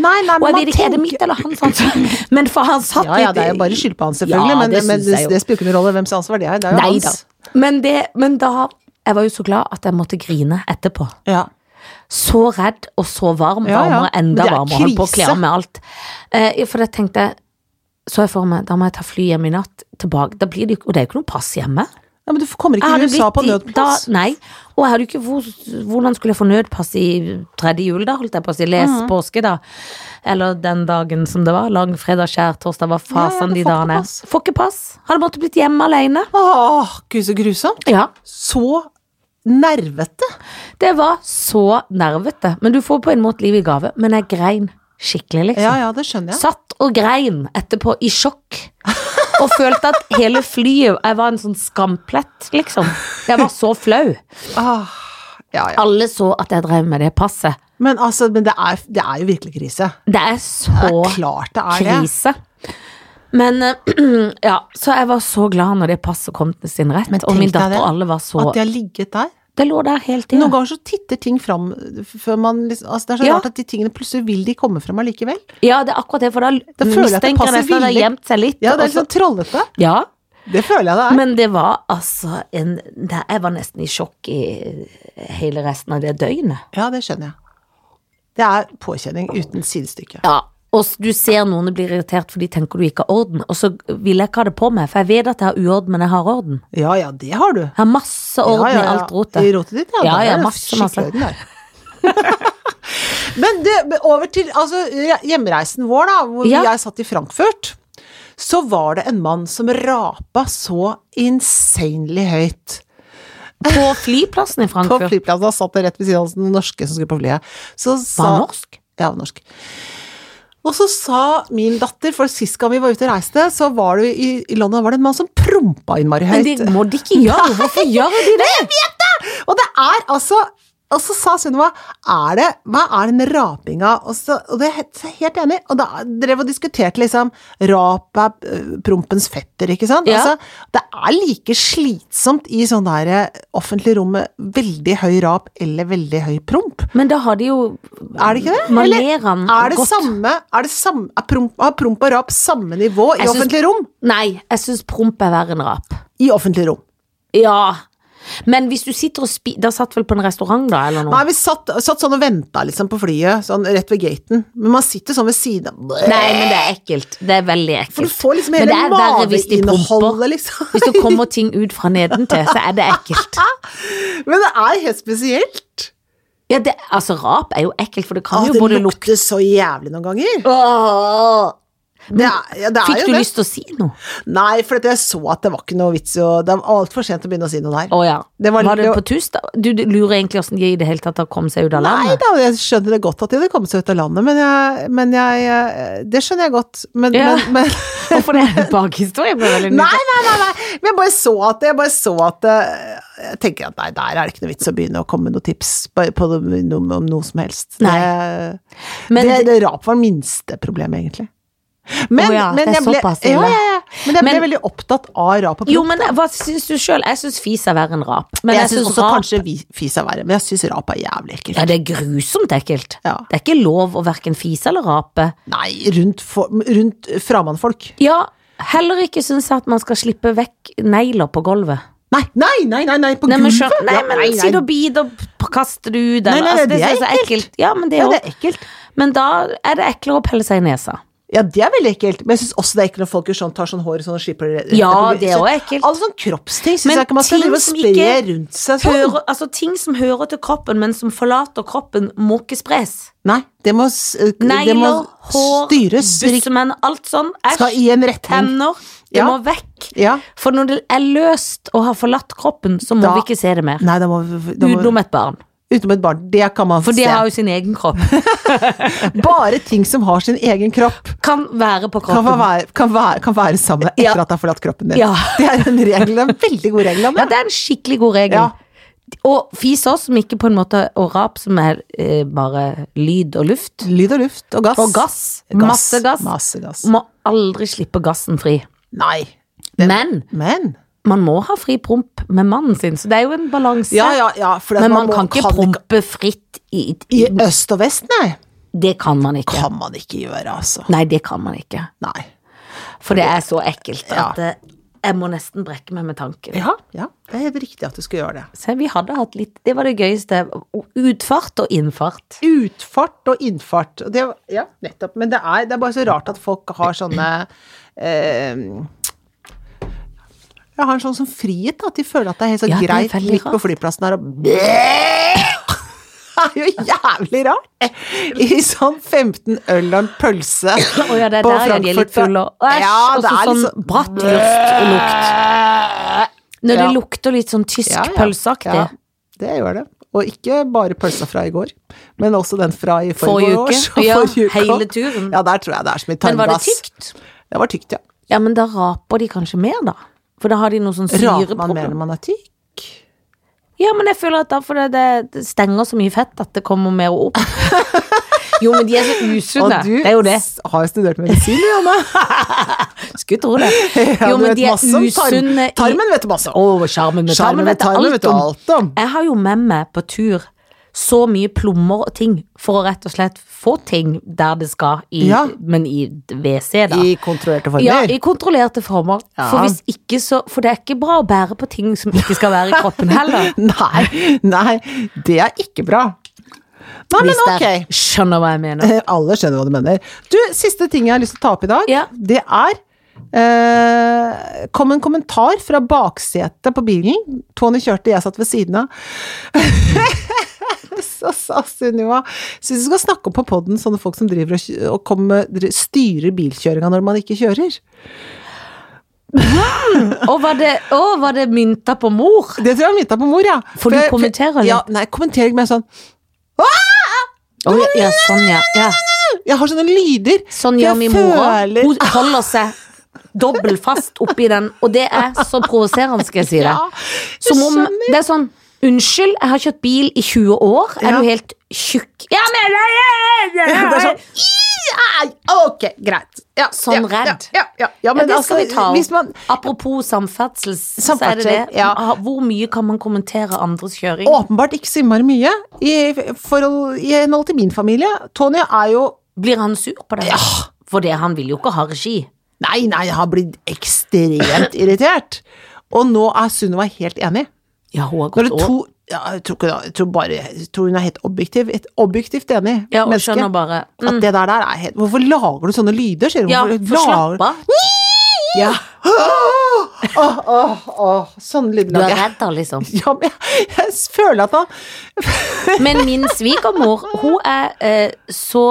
Speaker 1: Nei, nei, men
Speaker 2: Og jeg
Speaker 1: man
Speaker 2: vet ikke, er det
Speaker 1: tenker-
Speaker 2: mitt eller hans ansvar? Men for han satt
Speaker 1: Ja, ja,
Speaker 2: litt
Speaker 1: det er jo bare skyld på han, selvfølgelig,
Speaker 2: Ja,
Speaker 1: men,
Speaker 2: det
Speaker 1: det, men
Speaker 2: synes
Speaker 1: det,
Speaker 2: jeg jo.
Speaker 1: det spiller jo ikke noen rolle hvem som ansvar det er. Det er jo
Speaker 2: Nei da.
Speaker 1: hans.
Speaker 2: Men, det, men da Jeg var jo så glad at jeg måtte grine etterpå.
Speaker 1: Ja.
Speaker 2: Så redd og så varm.
Speaker 1: Ja, ja.
Speaker 2: Varmere,
Speaker 1: Men
Speaker 2: enda
Speaker 1: det er
Speaker 2: varmere. Holdt på å kle
Speaker 1: krise.
Speaker 2: av meg alt. Eh, ja, for det tenkte jeg så jeg for meg, da må jeg ta fly hjem i natt. Tilbake. Da blir det, jo- og det er jo ikke noe pass hjemme.
Speaker 1: ja, men du kommer ikke
Speaker 2: Jeg
Speaker 1: til
Speaker 2: hadde
Speaker 1: USA på
Speaker 2: blitt i-
Speaker 1: nødplass.
Speaker 2: Da, nei, og jeg hadde jo ikke hvor, Hvordan skulle jeg få nødpass i tredje jul, da, holdt jeg på å si. Les
Speaker 1: Mhm.
Speaker 2: påske, da. Eller den dagen som det var. Langfredag, skjærtorsdag,
Speaker 1: Ja,
Speaker 2: hva
Speaker 1: ja,
Speaker 2: fasen
Speaker 1: du
Speaker 2: de
Speaker 1: får ikke
Speaker 2: dagene.
Speaker 1: pass.
Speaker 2: Får ikke pass. Hadde måttet blitt hjemme alene.
Speaker 1: Åh, gud så grusomt.
Speaker 2: Ja.
Speaker 1: Så nervete.
Speaker 2: Det var så nervete. Men du får på en måte liv i gave. Men jeg grein skikkelig, liksom.
Speaker 1: Ja, ja, det skjønner jeg.
Speaker 2: Satt og grein etterpå i sjokk. Og følte at hele flyet Jeg var en sånn skamplett, liksom. Jeg var så Ah, flau.
Speaker 1: Åh, ja, ja.
Speaker 2: Alle så at jeg drev med det passet.
Speaker 1: Men altså, men det er, det er jo virkelig krise.
Speaker 2: Det er
Speaker 1: Det
Speaker 2: så
Speaker 1: er klart det er det.
Speaker 2: krise. Men eh, ja, så jeg var så glad når det passet kom til sin rett.
Speaker 1: Men
Speaker 2: Og min
Speaker 1: tenk deg
Speaker 2: datter
Speaker 1: det.
Speaker 2: og alle var så
Speaker 1: At de har ligget der.
Speaker 2: Det lå der hele tida.
Speaker 1: Noen ganger så titter ting fram f- før man liksom altså Det er så
Speaker 2: Ja.
Speaker 1: rart at de tingene plutselig vil de komme fram allikevel.
Speaker 2: Ja, det er akkurat det, for da,
Speaker 1: Da føler jeg at det
Speaker 2: mistenker jeg
Speaker 1: passer
Speaker 2: nesten at det har
Speaker 1: villig.
Speaker 2: gjemt seg litt.
Speaker 1: Ja, det er
Speaker 2: og så-
Speaker 1: liksom trollete.
Speaker 2: ja,
Speaker 1: Det føler jeg det er.
Speaker 2: Men det var altså en det, Jeg var nesten i sjokk i eh, hele resten av det døgnet.
Speaker 1: Ja, det skjønner jeg. Det er påkjenning uten sidestykke.
Speaker 2: Ja, og s- du ser noen blir irritert, for de tenker du ikke har orden. Og så vil jeg ikke ha det på meg, for jeg vet at jeg har uorden, men jeg har orden.
Speaker 1: Ja ja, det har du.
Speaker 2: Jeg har masse
Speaker 1: Ja,
Speaker 2: orden
Speaker 1: ja, ja.
Speaker 2: i alt rotet.
Speaker 1: I rotet ditt, ja.
Speaker 2: Ja,
Speaker 1: Der
Speaker 2: ja,
Speaker 1: er det
Speaker 2: masse, masse.
Speaker 1: skikkelig orden der. Men du, over til altså, hjemreisen vår, da, hvor
Speaker 2: Ja.
Speaker 1: jeg satt i Frankfurt. Så var det en mann som rapa så insanely høyt.
Speaker 2: På flyplassen i
Speaker 1: På
Speaker 2: Frankfurt.
Speaker 1: flyplassen da satt det rett ved siden av den norske som skulle på flyet. Så sa,
Speaker 2: Var han norsk?
Speaker 1: Ja, han var norsk. Og så sa min datter, for sist gang vi var ute og reiste, så var det i, i London var det en mann som prompa innmari
Speaker 2: Men
Speaker 1: høyt.
Speaker 2: det må de ikke gjøre. Hvorfor gjør de det?
Speaker 1: Og det er altså Og så sa Sunniva er det, hva er det med rapinga? Og, så, og det er helt- helt enig. Og da drev og diskuterte liksom Rap er øh, prompens fetter, ikke sant?
Speaker 2: Ja.
Speaker 1: Altså, det er like slitsomt i sånn der eh, offentlig rom med veldig høy rap eller veldig høy promp.
Speaker 2: Men da har de jo
Speaker 1: Er det ikke det?
Speaker 2: Man
Speaker 1: Eller
Speaker 2: ler han
Speaker 1: er det
Speaker 2: godt.
Speaker 1: samme Er, det samme, er promp, har promp og rap samme nivå i
Speaker 2: Jeg syns-
Speaker 1: offentlig rom?
Speaker 2: Nei, jeg syns promp er verre enn rap.
Speaker 1: I offentlig rom.
Speaker 2: Ja. Men hvis du sitter og spi... Da satt vel på en restaurant, da, eller noe?
Speaker 1: Nei, vi satt, satt sånn og venta liksom på flyet, sånn rett ved gaten. Men man sitter sånn ved siden av
Speaker 2: Nei, men det er ekkelt. Det er veldig ekkelt.
Speaker 1: For du får liksom
Speaker 2: Men
Speaker 1: hele
Speaker 2: det er verre hvis de promper.
Speaker 1: mageinnholdet, liksom.
Speaker 2: Hvis det kommer ting ut fra nedentil, så er det ekkelt.
Speaker 1: Men det er helt spesielt.
Speaker 2: Ja, det, altså, rap er jo ekkelt, for det kan
Speaker 1: Å,
Speaker 2: jo
Speaker 1: det
Speaker 2: både
Speaker 1: lukter
Speaker 2: lukte
Speaker 1: så jævlig noen ganger. Det er, ja, det er
Speaker 2: Fikk
Speaker 1: jo
Speaker 2: du
Speaker 1: det.
Speaker 2: lyst til å si noe?
Speaker 1: Nei, for at jeg så at det var ikke noe vits i å Det var altfor sent å begynne å si noe der.
Speaker 2: Å ja.
Speaker 1: Det var-
Speaker 2: var, det
Speaker 1: det var-
Speaker 2: på tus, da? Du, du lurer egentlig åssen de i det hele tatt har kommet seg ut av
Speaker 1: Nei
Speaker 2: landet?
Speaker 1: da, jeg skjønner det godt at de hadde kommet seg ut av landet, men jeg, men jeg eh, Det skjønner jeg godt, men,
Speaker 2: Ja.
Speaker 1: men, men
Speaker 2: Hvorfor det er en bakhistorie? Jeg ble veldig
Speaker 1: Nei,
Speaker 2: nysgjerrig.
Speaker 1: nei, nei, nei. Men jeg bare så at Jeg bare så at eh, Jeg tenker at nei, der er det ikke noe vits å begynne å komme med noen tips på, på noe, om noe som helst. eh,
Speaker 2: Nei.
Speaker 1: Det,
Speaker 2: Men
Speaker 1: det,
Speaker 2: det-
Speaker 1: det rap var det minste problemet, egentlig. Men,
Speaker 2: Å ja,
Speaker 1: men
Speaker 2: det er
Speaker 1: jeg ble,
Speaker 2: såpass ille.
Speaker 1: ja, ja, ja. Men jeg ble
Speaker 2: Men-
Speaker 1: veldig opptatt av rap og promp.
Speaker 2: Jo, men hva syns du sjøl? Jeg syns fis er verre enn rap. Men
Speaker 1: jeg syns også
Speaker 2: rap
Speaker 1: kanskje vi- fis er verre, men jeg syns rap er jævlig ekkelt.
Speaker 2: Ja, det er grusomt ekkelt.
Speaker 1: Ja.
Speaker 2: Det er ikke lov å verken fise eller rape.
Speaker 1: Nei, rundt, for, rundt framannfolk.
Speaker 2: Ja, heller ikke syns jeg at man skal slippe vekk negler på gulvet.
Speaker 1: Nei, nei, nei, nei, nei, på
Speaker 2: Nei, men,
Speaker 1: gulvet!
Speaker 2: skjøn- nei,
Speaker 1: Ja,
Speaker 2: men
Speaker 1: nei, nei.
Speaker 2: sitter og biter, og p- kaster det ut,
Speaker 1: Nei,
Speaker 2: eller
Speaker 1: nei,
Speaker 2: altså,
Speaker 1: det
Speaker 2: det
Speaker 1: er
Speaker 2: synes jeg er ekkelt. Ja, men det
Speaker 1: Ja,
Speaker 2: òg.
Speaker 1: det er ekkelt.
Speaker 2: Men da er det eklere å pelle seg i nesa.
Speaker 1: Ja, det er veldig ekkelt, men jeg syns også det er ekkelt når folk gjør sånn, tar sånn hår og sånn og slipper det rett
Speaker 2: Ja,
Speaker 1: etterpå.
Speaker 2: det er også ekkelt.
Speaker 1: Alle sånne kroppsting syns
Speaker 2: Men
Speaker 1: jeg ikke man skal
Speaker 2: ting
Speaker 1: drive og
Speaker 2: som
Speaker 1: spre
Speaker 2: ikke
Speaker 1: rundt seg sånn.
Speaker 2: Hører, altså, ting som hører til kroppen, men som forlater kroppen, må ikke spres.
Speaker 1: Nei, det må, s- eh, det må
Speaker 2: Negler, hår,
Speaker 1: styres. rikt-
Speaker 2: bussemenn, alt sånn.
Speaker 1: Skal
Speaker 2: Æsj.
Speaker 1: i en retning.
Speaker 2: Tenner. Det
Speaker 1: Ja.
Speaker 2: må vekk.
Speaker 1: Ja.
Speaker 2: For når det er løst og har forlatt kroppen, så må
Speaker 1: Da-
Speaker 2: vi ikke se det mer.
Speaker 1: Nei, da må, vi- da må
Speaker 2: Utenom et barn.
Speaker 1: Utenom et barn. Det kan man
Speaker 2: For
Speaker 1: se.
Speaker 2: det har jo sin egen kropp.
Speaker 1: Bare ting som har sin egen kropp,
Speaker 2: Kan være på
Speaker 1: kan
Speaker 2: kroppen.
Speaker 1: være, kan være, kan være sammen etter
Speaker 2: Ja.
Speaker 1: at det har forlatt kroppen din.
Speaker 2: Ja.
Speaker 1: Det er en regel, det er en veldig god regel.
Speaker 2: Ja,
Speaker 1: Anne.
Speaker 2: det er en skikkelig god regel.
Speaker 1: Ja.
Speaker 2: Og fis også, som ikke på en måte Og rap, som er eh, bare lyd og luft.
Speaker 1: Lyd og luft og gass.
Speaker 2: Og gass. Masse gass.
Speaker 1: Masse gass. Mm.
Speaker 2: Må aldri slippe gassen fri.
Speaker 1: Nei.
Speaker 2: Men
Speaker 1: Men
Speaker 2: man må ha fri promp med mannen sin, så det er jo en balanse.
Speaker 1: Ja, ja, ja. fordi at
Speaker 2: Men altså, man,
Speaker 1: må-
Speaker 2: kan ikke prompe fritt i, i
Speaker 1: I øst og vest, nei.
Speaker 2: Det kan man ikke.
Speaker 1: Kan man ikke gjøre, altså.
Speaker 2: Nei, det kan man ikke.
Speaker 1: Nei.
Speaker 2: For det er så ekkelt
Speaker 1: Ja.
Speaker 2: at eh, jeg må nesten brekke meg med tanken.
Speaker 1: Ja, ja. Det er helt riktig at du skal gjøre det.
Speaker 2: Så vi hadde hatt litt Det var det gøyeste. Utfart og innfart.
Speaker 1: Utfart og innfart. og Det, ja, nettopp. Men det er, det er bare så rart at folk har sånne eh, Jeg har en sånn som frihet, da. At de føler at det er helt så
Speaker 2: Ja, det er
Speaker 1: greit
Speaker 2: veldig
Speaker 1: midt på
Speaker 2: rart.
Speaker 1: flyplassen her og Det er jo jævlig rart! I sånn 15 øl og en pølse
Speaker 2: Å ja, det er
Speaker 1: på
Speaker 2: der ja, de er litt
Speaker 1: Frankfurt.
Speaker 2: fulle og æsj.
Speaker 1: Ja,
Speaker 2: og
Speaker 1: det
Speaker 2: så
Speaker 1: er
Speaker 2: sånn
Speaker 1: liksom-
Speaker 2: bratt luft og lukt. Når det
Speaker 1: Ja.
Speaker 2: lukter litt sånn tysk
Speaker 1: Ja, ja.
Speaker 2: pølseaktig.
Speaker 1: Ja, det gjør det. Og ikke bare pølsa fra i går, men også den fra i forrige
Speaker 2: Forrige uke.
Speaker 1: års. og
Speaker 2: Ja,
Speaker 1: forrige uke.
Speaker 2: hele turen.
Speaker 1: Ja, der tror jeg det er så mye
Speaker 2: Men var det
Speaker 1: tarmgass.
Speaker 2: tykt?
Speaker 1: Det var tykt, ja.
Speaker 2: Ja, men da raper de kanskje mer, da. For da har de noe sånn
Speaker 1: Raper man mer
Speaker 2: syreproblem.
Speaker 1: når man er tykk?
Speaker 2: Ja, men jeg føler at da for det, det stenger så mye fett at det kommer mer opp. jo, men de er så
Speaker 1: Og
Speaker 2: usunne.
Speaker 1: du
Speaker 2: Det er jo det.
Speaker 1: s- har jo studert medisin, du, Janne.
Speaker 2: Skulle tro det.
Speaker 1: Ja,
Speaker 2: Jo,
Speaker 1: du
Speaker 2: men
Speaker 1: vet
Speaker 2: de er
Speaker 1: masse om tarm-
Speaker 2: usunne i-
Speaker 1: Tarmen vet du masse om.
Speaker 2: Å, sjarmen
Speaker 1: Sjarmen
Speaker 2: med tarmen
Speaker 1: med
Speaker 2: vet jeg
Speaker 1: tarmen
Speaker 2: alt
Speaker 1: vet du
Speaker 2: om.
Speaker 1: alt om.
Speaker 2: Jeg har jo med meg på tur så mye plommer og ting for å rett og slett få ting der det skal, i,
Speaker 1: Ja.
Speaker 2: men i WC, da.
Speaker 1: I kontrollerte former.
Speaker 2: ja, I kontrollerte former.
Speaker 1: Ja.
Speaker 2: For, hvis ikke så, for det er ikke bra å bære på ting som ikke skal være i kroppen heller.
Speaker 1: Nei, nei, det er ikke bra. Nei, men
Speaker 2: Hvis
Speaker 1: ok.
Speaker 2: dere skjønner hva jeg mener.
Speaker 1: Eh, Alle skjønner hva du mener. Du, siste ting jeg har lyst til å ta opp i dag,
Speaker 2: Ja.
Speaker 1: det er eh, Kom en kommentar fra baksetet på bilen. Tony kjørte, jeg satt ved siden av. Så sa Sunniva Syns du skal snakke opp på poden sånne folk som driver og, kjø- og kommer, dri- styrer bilkjøringa når man ikke kjører.
Speaker 2: Og var det, å, var det mynta på mor?
Speaker 1: Det tror jeg mynta på mor, ja.
Speaker 2: Får du
Speaker 1: jeg-
Speaker 2: kommentere litt?
Speaker 1: Ja, nei, kommenterer ikke, men jeg er sånn
Speaker 2: Å, ja, ja, sånn, ja. ja.
Speaker 1: Jeg har sånne lyder.
Speaker 2: Sånn
Speaker 1: for
Speaker 2: gjør
Speaker 1: jeg
Speaker 2: min mor òg.
Speaker 1: føler-
Speaker 2: Hun holder seg dobbel fast oppi den, og det er så provoserende, skal jeg si deg.
Speaker 1: Ja, jeg
Speaker 2: Som om
Speaker 1: skjønner.
Speaker 2: Det er sånn Unnskyld, jeg har kjørt bil i 20 år. Er
Speaker 1: Ja.
Speaker 2: du helt tjukk? Ja, men
Speaker 1: Det er sånn,
Speaker 2: Ai, Ok, greit.
Speaker 1: Ja,
Speaker 2: Sånn
Speaker 1: ja,
Speaker 2: redd.
Speaker 1: Ja, ja, ja, ja, men
Speaker 2: ja, det
Speaker 1: altså,
Speaker 2: skal vi ta
Speaker 1: Hvis man,
Speaker 2: opp. Apropos samferdsel, så er det det.
Speaker 1: Samferdsel, ja.
Speaker 2: Hvor mye kan man kommentere andres kjøring?
Speaker 1: åpenbart ikke så innmari mye. I forhold i henhold til min familie. Tony er jo
Speaker 2: Blir han sur på det? For det, han vil jo ikke ha regi.
Speaker 1: Nei, nei, jeg har blitt ekstremt irritert. Og nå er Sunniva helt enig.
Speaker 2: Ja, hun har
Speaker 1: Når
Speaker 2: gått
Speaker 1: det
Speaker 2: over.
Speaker 1: to ja, jeg, tror ikke, det- jeg, tror bare, jeg tror hun er helt objektiv. Et objektivt enig
Speaker 2: Ja, hun
Speaker 1: menneske.
Speaker 2: skjønner bare. Mm.
Speaker 1: At det der, der er helt Hvorfor lager du sånne lyder, sier hun.
Speaker 2: Ja,
Speaker 1: Hvorfor
Speaker 2: for slapp
Speaker 1: lager-
Speaker 2: av.
Speaker 1: Ja. Åh, åh, åh, åh, Sånn
Speaker 2: Du er
Speaker 1: lydlag.
Speaker 2: redd da, liksom.
Speaker 1: Ja, men jeg, jeg føler at han
Speaker 2: Men min svigermor, hun er eh, så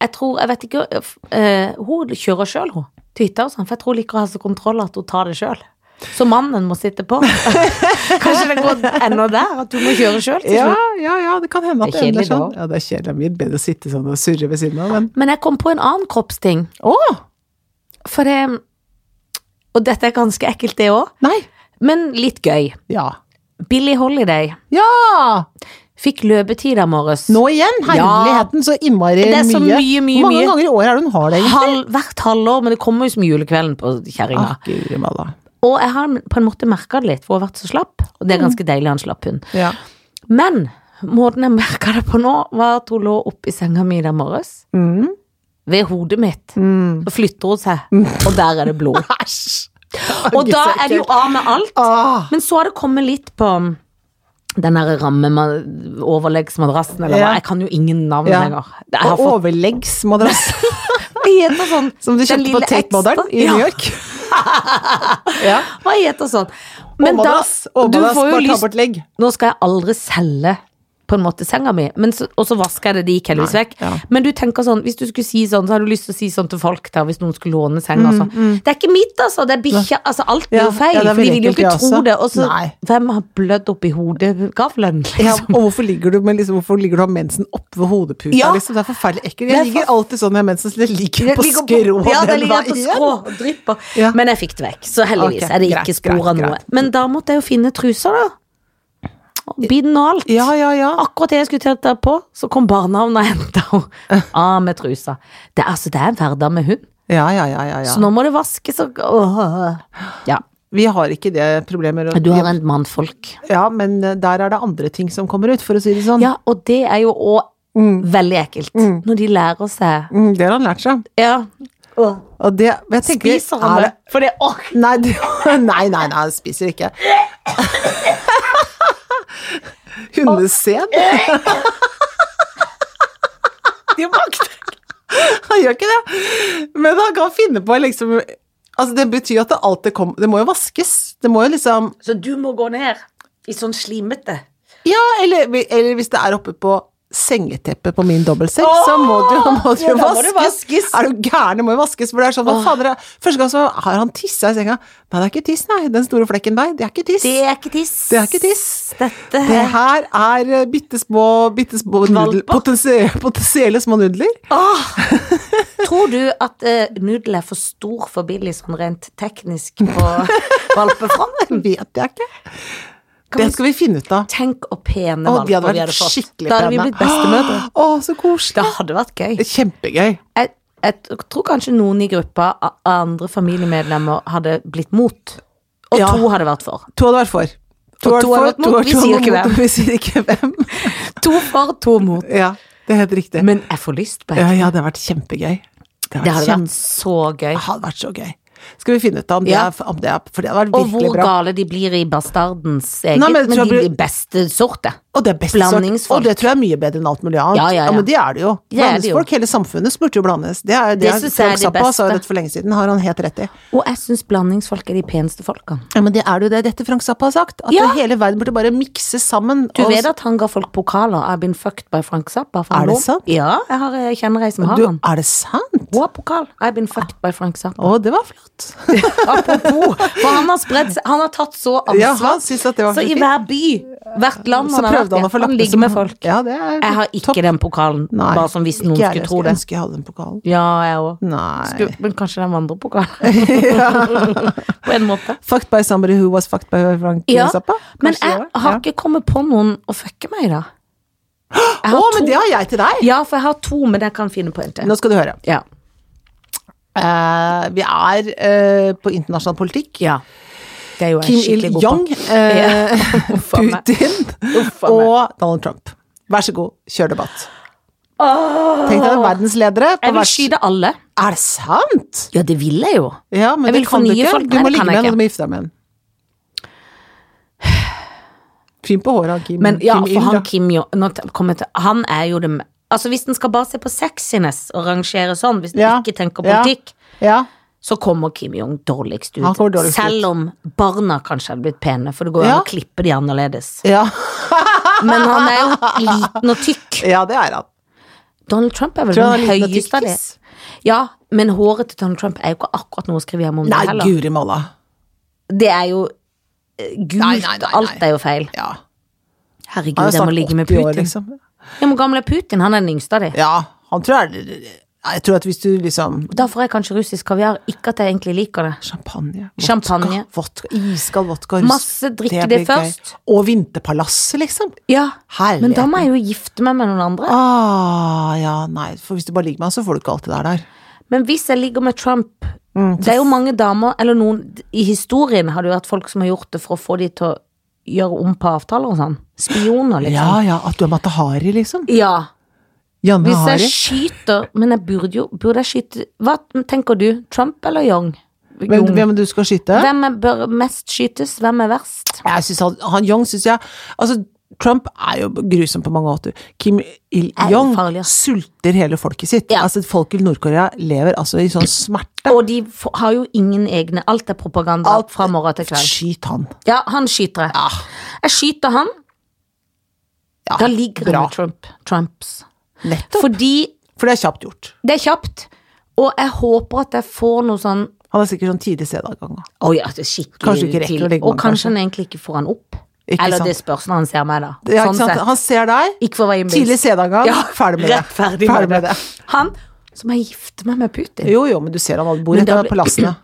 Speaker 2: Jeg tror, jeg vet ikke eh, Hun kjører sjøl, hun. Til hytta og sånn. For jeg tror hun liker å ha så kontroll at hun tar det sjøl. Så mannen må sitte på. Kanskje det går ennå der, at du må kjøre sjøl til
Speaker 1: Ja,
Speaker 2: slutt.
Speaker 1: ja, ja, det kan hende at
Speaker 2: Det
Speaker 1: det ender
Speaker 2: er kjedelig da.
Speaker 1: sånn. Ja, det er kjedelig. Det er mye bedre å sitte sånn og surre ved siden av, men
Speaker 2: Men jeg kom på en annen kroppsting.
Speaker 1: Å!
Speaker 2: For det Og dette er ganske ekkelt, det òg,
Speaker 1: Nei!
Speaker 2: men litt gøy.
Speaker 1: Ja.
Speaker 2: Billie Holiday
Speaker 1: Ja!
Speaker 2: fikk løpetid av morges.
Speaker 1: Nå igjen! Herligheten, så innmari mye.
Speaker 2: Det er så mye, mye,
Speaker 1: Hvor mange
Speaker 2: mye.
Speaker 1: ganger i året er det hun har det, egentlig?
Speaker 2: Halv, hvert halvår, men det kommer jo som julekvelden på kjerringa.
Speaker 1: Ah, guri malla.
Speaker 2: Og jeg har på en måte merka det litt, for hun har vært så slapp. Og det er
Speaker 1: Mm.
Speaker 2: ganske deilig, han slapp hun.
Speaker 1: Ja.
Speaker 2: Men måten jeg merka det på nå, var at hun lå oppi senga mi i dag morges.
Speaker 1: Mm.
Speaker 2: Ved hodet mitt.
Speaker 1: Mm.
Speaker 2: Så flytter hun seg, og der er det blod.
Speaker 1: Æsj!
Speaker 2: Og da er det jo av med alt.
Speaker 1: ah,
Speaker 2: Men så har det kommet litt på um, den derre rammeoverleggsmadrassen, eller hva.
Speaker 1: Ja.
Speaker 2: Jeg kan jo ingen navn
Speaker 1: Ja.
Speaker 2: lenger. Jeg har
Speaker 1: Og
Speaker 2: fått
Speaker 1: overleggsmadrass
Speaker 2: Hva heter sånn?
Speaker 1: som du
Speaker 2: Den
Speaker 1: kjøpte på
Speaker 2: lille
Speaker 1: Tate Modern
Speaker 2: ekstra-
Speaker 1: i New York. ja.
Speaker 2: Ja, hva heter sånn? Men da,
Speaker 1: Overmadrass.
Speaker 2: du
Speaker 1: Overmadrass,
Speaker 2: får
Speaker 1: bare
Speaker 2: jo
Speaker 1: ta
Speaker 2: lyst
Speaker 1: bort legg.
Speaker 2: Nå skal jeg aldri selge på en måte senga mi, men så, og så vasker jeg det, det gikk heldigvis vekk.
Speaker 1: ja.
Speaker 2: Men du tenker sånn, hvis du skulle si sånn, så har du lyst til å si sånn til folk der, hvis noen skulle låne senga og sånn. Det er ikke mitt, altså, det er bikkja, altså alt
Speaker 1: Mm,
Speaker 2: blir
Speaker 1: Ja,
Speaker 2: jo feil,
Speaker 1: ja, det er
Speaker 2: for
Speaker 1: vel
Speaker 2: de vil jo
Speaker 1: ekkelt,
Speaker 2: ikke
Speaker 1: det
Speaker 2: tro
Speaker 1: også.
Speaker 2: det. Og så,
Speaker 1: Nei.
Speaker 2: hvem har blødd opp i hodegavlen,
Speaker 1: Ja,
Speaker 2: liksom?
Speaker 1: og hvorfor ligger du med liksom, hvorfor ligger du og har mensen oppå hodeputa?
Speaker 2: Ja.
Speaker 1: Liksom? Det er forferdelig ekkelt.
Speaker 2: Det er
Speaker 1: Jeg ligger alltid sånn når jeg har mensen, så det ligger på
Speaker 2: ligger
Speaker 1: skrå
Speaker 2: ja, det
Speaker 1: den
Speaker 2: ligger på
Speaker 1: veien.
Speaker 2: skrå og drypper.
Speaker 1: Ja.
Speaker 2: Men jeg fikk det vekk, så heldigvis
Speaker 1: Ok,
Speaker 2: er det
Speaker 1: greit,
Speaker 2: ikke spor av
Speaker 1: greit,
Speaker 2: noe.
Speaker 1: greit.
Speaker 2: Men da måtte jeg jo finne truser, da. Og Bind og alt.
Speaker 1: Ja, ja, ja.
Speaker 2: Akkurat det jeg skulle tette på, så kom barnehavna og henta henne. Av med trusa. Det, er- altså, det er en hverdag med hund,
Speaker 1: Ja, ja, ja, ja, ja.
Speaker 2: så nå må det vaskes og åh. Ja.
Speaker 1: Vi har ikke det problemet.
Speaker 2: Du har en mannfolk.
Speaker 1: Ja, men eh, der er det andre ting som kommer ut, for å si det sånn.
Speaker 2: Ja, og det er jo òg veldig ekkelt. Når de lærer seg
Speaker 1: Mm, det har han lært seg.
Speaker 2: ja.
Speaker 1: Og det, men jeg tenker,
Speaker 2: Spiser han
Speaker 1: er
Speaker 2: det? For det åh,
Speaker 1: Nei, det, nei, nei, nei, han spiser ikke. Hundesæd?
Speaker 2: de makter
Speaker 1: Han gjør ikke det. Men han kan finne på liksom Altså, det betyr at det alltid kommer Det må jo vaskes. Det må jo liksom
Speaker 2: Så du må gå ned i sånn slimete.
Speaker 1: Ja, eller, eller hvis det er oppe på sengeteppet på min dobbeltseng, så må det jo må det
Speaker 2: Ja,
Speaker 1: jo
Speaker 2: da må
Speaker 1: vaskes.
Speaker 2: det vaskes.
Speaker 1: Er du gæren, det må jo vaskes. For det er sånn, hva fader er Første gang så har han tissa i senga. Nei, det er ikke tiss, nei. Den store flekken der, det er ikke tiss.
Speaker 2: Det er ikke tiss.
Speaker 1: Det er ikke tiss.
Speaker 2: Dette
Speaker 1: Det her er eh, bitte små, bitte små nudler,
Speaker 2: Valper.
Speaker 1: potensie- potensielle små nudler.
Speaker 2: Åh! Tror du at uh, nudel er for stor for Billy sånn rent teknisk på valpefronten?
Speaker 1: Vet jeg ikke.
Speaker 2: Kan
Speaker 1: Det
Speaker 2: vi-
Speaker 1: skal vi finne ut av.
Speaker 2: Tenk å pene
Speaker 1: Å,
Speaker 2: valper
Speaker 1: de hadde
Speaker 2: vi
Speaker 1: vært
Speaker 2: hadde fått.
Speaker 1: skikkelig
Speaker 2: Da hadde vi blitt bestemødre.
Speaker 1: Å, så koselig.
Speaker 2: Det hadde vært gøy.
Speaker 1: Kjempegøy.
Speaker 2: Jeg, jeg tror kanskje noen i gruppa av andre familiemedlemmer hadde blitt mot. Og
Speaker 1: Ja.
Speaker 2: to hadde vært for.
Speaker 1: To hadde vært for. hadde
Speaker 2: Og to hadde
Speaker 1: for,
Speaker 2: vært mot.
Speaker 1: hadde vært
Speaker 2: Vi sier
Speaker 1: mot,
Speaker 2: ikke hvem.
Speaker 1: og Vi sier ikke hvem.
Speaker 2: To for, to mot.
Speaker 1: Ja, det er helt riktig.
Speaker 2: Men jeg får lyst på det.
Speaker 1: ja, ja, det har vært kjempegøy. Det
Speaker 2: Det
Speaker 1: har
Speaker 2: hadde
Speaker 1: vært, Ah,
Speaker 2: vært så gøy.
Speaker 1: kjempe- hadde vært så gøy. Skal vi finne ut av om, det
Speaker 2: Ja.
Speaker 1: er- om det er For det hadde vært
Speaker 2: Og
Speaker 1: virkelig
Speaker 2: hvor
Speaker 1: bra.
Speaker 2: gale de blir i bastardens eget,
Speaker 1: Nei, men jeg
Speaker 2: men,
Speaker 1: tror jeg
Speaker 2: de
Speaker 1: blir-
Speaker 2: blir beste sorte.
Speaker 1: Og det er best sort.
Speaker 2: Blandingsfolk.
Speaker 1: Og det tror jeg er mye bedre enn alt mulig annet.
Speaker 2: Ja, ja, ja.
Speaker 1: men det er det jo.
Speaker 2: Det er det jo.
Speaker 1: Blandingsfolk, hele samfunnet spurte jo blandes. Det, er, det,
Speaker 2: Det
Speaker 1: er-
Speaker 2: synes jeg er
Speaker 1: Frank
Speaker 2: det
Speaker 1: Zappa sa jo
Speaker 2: beste.
Speaker 1: dette for lenge siden, har han helt rett i.
Speaker 2: Og jeg syns blandingsfolk er de peneste folkene.
Speaker 1: Ja, men det er jo det dette Frank Zappa har sagt. At
Speaker 2: Ja.
Speaker 1: det hele verden burde bare mikses sammen.
Speaker 2: Du
Speaker 1: og-
Speaker 2: vet at han ga folk pokaler. I've been fucked by Frank Zappa. for
Speaker 1: Er
Speaker 2: han
Speaker 1: det
Speaker 2: lå-
Speaker 1: sant?
Speaker 2: Ja, jeg har eh, kjenner ei som har
Speaker 1: du,
Speaker 2: han.
Speaker 1: Er det sant?
Speaker 2: Hun har pokal. I've been fucked by Frank Zappa.
Speaker 1: Å, det var flott.
Speaker 2: Apropos, for han har spredt seg. Han har tatt så
Speaker 1: Ja, han
Speaker 2: ansvar.
Speaker 1: syns at det var
Speaker 2: så i
Speaker 1: fint.
Speaker 2: hver by Hvert land
Speaker 1: Så
Speaker 2: han har vært
Speaker 1: prøvde han å få
Speaker 2: i, han
Speaker 1: lagt det
Speaker 2: ligger
Speaker 1: som
Speaker 2: med
Speaker 1: en-
Speaker 2: folk.
Speaker 1: Ja, det er
Speaker 2: Jeg har ikke
Speaker 1: topp.
Speaker 2: den pokalen,
Speaker 1: Nei,
Speaker 2: bare som hvis noen
Speaker 1: ikke jeg heller.
Speaker 2: skulle tro det.
Speaker 1: Skulle ønske jeg hadde den pokalen.
Speaker 2: Ja, jeg òg.
Speaker 1: Nei.
Speaker 2: Men kanskje den vandrepokalen? På en måte.
Speaker 1: Fucked by somebody who was fucked by Frank
Speaker 2: Ja,
Speaker 1: Zappa.
Speaker 2: Men
Speaker 1: Kanskje
Speaker 2: jeg
Speaker 1: det var?
Speaker 2: har
Speaker 1: Ja.
Speaker 2: ikke kommet på noen å fucke meg, da. Jeg
Speaker 1: Å,
Speaker 2: har
Speaker 1: men
Speaker 2: to.
Speaker 1: det har jeg til deg!
Speaker 2: Ja, for jeg har to, men jeg kan finne på en til.
Speaker 1: Nå skal du høre.
Speaker 2: Ja.
Speaker 1: Eh, vi er eh, på internasjonal politikk.
Speaker 2: ja. Det er jo
Speaker 1: Kim
Speaker 2: jeg skikkelig god på.
Speaker 1: Il-jong, eh,
Speaker 2: Huff a meg.
Speaker 1: Putin
Speaker 2: Huff a meg.
Speaker 1: og Donald Trump. Vær så god, kjør debatt. Tenk deg verdensledere på
Speaker 2: Jeg vil
Speaker 1: vers...
Speaker 2: skyte alle.
Speaker 1: Er det sant?!
Speaker 2: Ja, det vil jeg jo.
Speaker 1: Ja, men
Speaker 2: Jeg
Speaker 1: det
Speaker 2: vil
Speaker 1: kan du
Speaker 2: fornye
Speaker 1: ikke.
Speaker 2: folk.
Speaker 1: Du
Speaker 2: Nei,
Speaker 1: må
Speaker 2: det
Speaker 1: ligge
Speaker 2: kan
Speaker 1: med
Speaker 2: jeg
Speaker 1: en, og
Speaker 2: ikke.
Speaker 1: du må gifte deg med en. Fin på håret, han Kim.
Speaker 2: Men ja,
Speaker 1: Kim Il,
Speaker 2: for
Speaker 1: da.
Speaker 2: han Kim jo nå t- kommer jeg til, Han er jo det me- Altså, hvis en skal bare se på sexiness og rangere sånn, hvis en
Speaker 1: Ja.
Speaker 2: ikke tenker
Speaker 1: Ja.
Speaker 2: politikk,
Speaker 1: Ja.
Speaker 2: så kommer Kim Jong dårligst ut.
Speaker 1: Han kommer dårligst ut.
Speaker 2: Selv om barna kanskje hadde blitt pene, for det går jo
Speaker 1: Ja.
Speaker 2: an å klippe de annerledes.
Speaker 1: Ja.
Speaker 2: Men han er jo liten og tykk.
Speaker 1: ja, det er han.
Speaker 2: Donald Trump er vel
Speaker 1: Tror du han er
Speaker 2: den
Speaker 1: liten og
Speaker 2: høyeste av de.
Speaker 1: tykkis?
Speaker 2: Ja, men håret til Donald Trump er jo ikke akkurat noe å skrive hjem om
Speaker 1: Nei,
Speaker 2: det heller.
Speaker 1: guri malla.
Speaker 2: Det er jo eh, gult,
Speaker 1: Nei, nei, nei, nei.
Speaker 2: alt er jo feil.
Speaker 1: Ja.
Speaker 2: Herregud,
Speaker 1: Han er
Speaker 2: jeg må
Speaker 1: snart
Speaker 2: ligge med
Speaker 1: 80 år,
Speaker 2: Putin.
Speaker 1: liksom.
Speaker 2: Ja, men gamle Putin, han er den yngste av de.
Speaker 1: Ja, han tror jeg er Nei, Jeg tror at hvis du liksom
Speaker 2: Da får jeg kanskje russisk kaviar, ikke at jeg egentlig liker det.
Speaker 1: Champagne. Vodka,
Speaker 2: Champagne.
Speaker 1: Vodka, iskald vodka. russ.
Speaker 2: Masse drikke det
Speaker 1: blir gøy.
Speaker 2: først.
Speaker 1: Og vinterpalasset, liksom.
Speaker 2: Ja,
Speaker 1: Herlighet.
Speaker 2: men da må jeg jo gifte meg med noen andre.
Speaker 1: Ah, ja, nei, for hvis du bare ligger med han, så får du ikke alt det der der.
Speaker 2: Men hvis jeg ligger med Trump Det er jo mange damer, eller noen I historien har det jo vært folk som har gjort det for å få de til å gjøre om på avtaler og sånn. Spioner,
Speaker 1: Ja,
Speaker 2: liksom.
Speaker 1: ja, at du er Matahari, liksom.
Speaker 2: Ja.
Speaker 1: Janne
Speaker 2: Hvis jeg
Speaker 1: Hari.
Speaker 2: skyter Men jeg burde jo Burde jeg skyte Hva tenker du? Trump eller Young?
Speaker 1: Hvem,
Speaker 2: Young.
Speaker 1: hvem du skal skyte?
Speaker 2: Hvem er- bør mest skytes? Hvem er verst?
Speaker 1: Jeg synes han, han Young synes jeg Altså, Trump er jo grusom på mange måter. Kim
Speaker 2: Er
Speaker 1: Il-young
Speaker 2: ufarlig, ja.
Speaker 1: sulter hele folket sitt.
Speaker 2: Ja.
Speaker 1: Altså, Folket i Nord-Korea lever altså i sånn smerte.
Speaker 2: Og de f- har jo ingen egne Alt er propaganda
Speaker 1: Alt-
Speaker 2: fra morgen til kveld.
Speaker 1: Skyt han.
Speaker 2: Ja, han skyter jeg.
Speaker 1: Ja.
Speaker 2: Jeg skyter han.
Speaker 1: Ja,
Speaker 2: da ligger jeg
Speaker 1: bra.
Speaker 2: med Trump. Trumps.
Speaker 1: Nettopp. For,
Speaker 2: Fordi
Speaker 1: det er kjapt gjort.
Speaker 2: det er kjapt, og jeg håper at jeg får noe sånn
Speaker 1: Han er sikkert sånn tidlig C-dag-gang.
Speaker 2: Å ja, det er skikkelig
Speaker 1: Kanskje du ikke rekker
Speaker 2: til-
Speaker 1: å ligge med
Speaker 2: Og
Speaker 1: han, kanskje.
Speaker 2: kanskje han egentlig ikke får han opp.
Speaker 1: Ikke
Speaker 2: Eller
Speaker 1: sant.
Speaker 2: det spørs når han ser meg, da.
Speaker 1: Ja, ikke
Speaker 2: sånn
Speaker 1: sant?
Speaker 2: sett.
Speaker 1: Han ser deg.
Speaker 2: Ikke for å være innbilsk.
Speaker 1: Tidlig C-dag-gang.
Speaker 2: Ja,
Speaker 1: ferdig med det.
Speaker 2: rettferdig
Speaker 1: Ferdig med det.
Speaker 2: Han som jeg gifter meg med Putin.
Speaker 1: Jo, jo, men du ser han aldri bor
Speaker 2: Men da
Speaker 1: etter
Speaker 2: blir-
Speaker 1: palassene.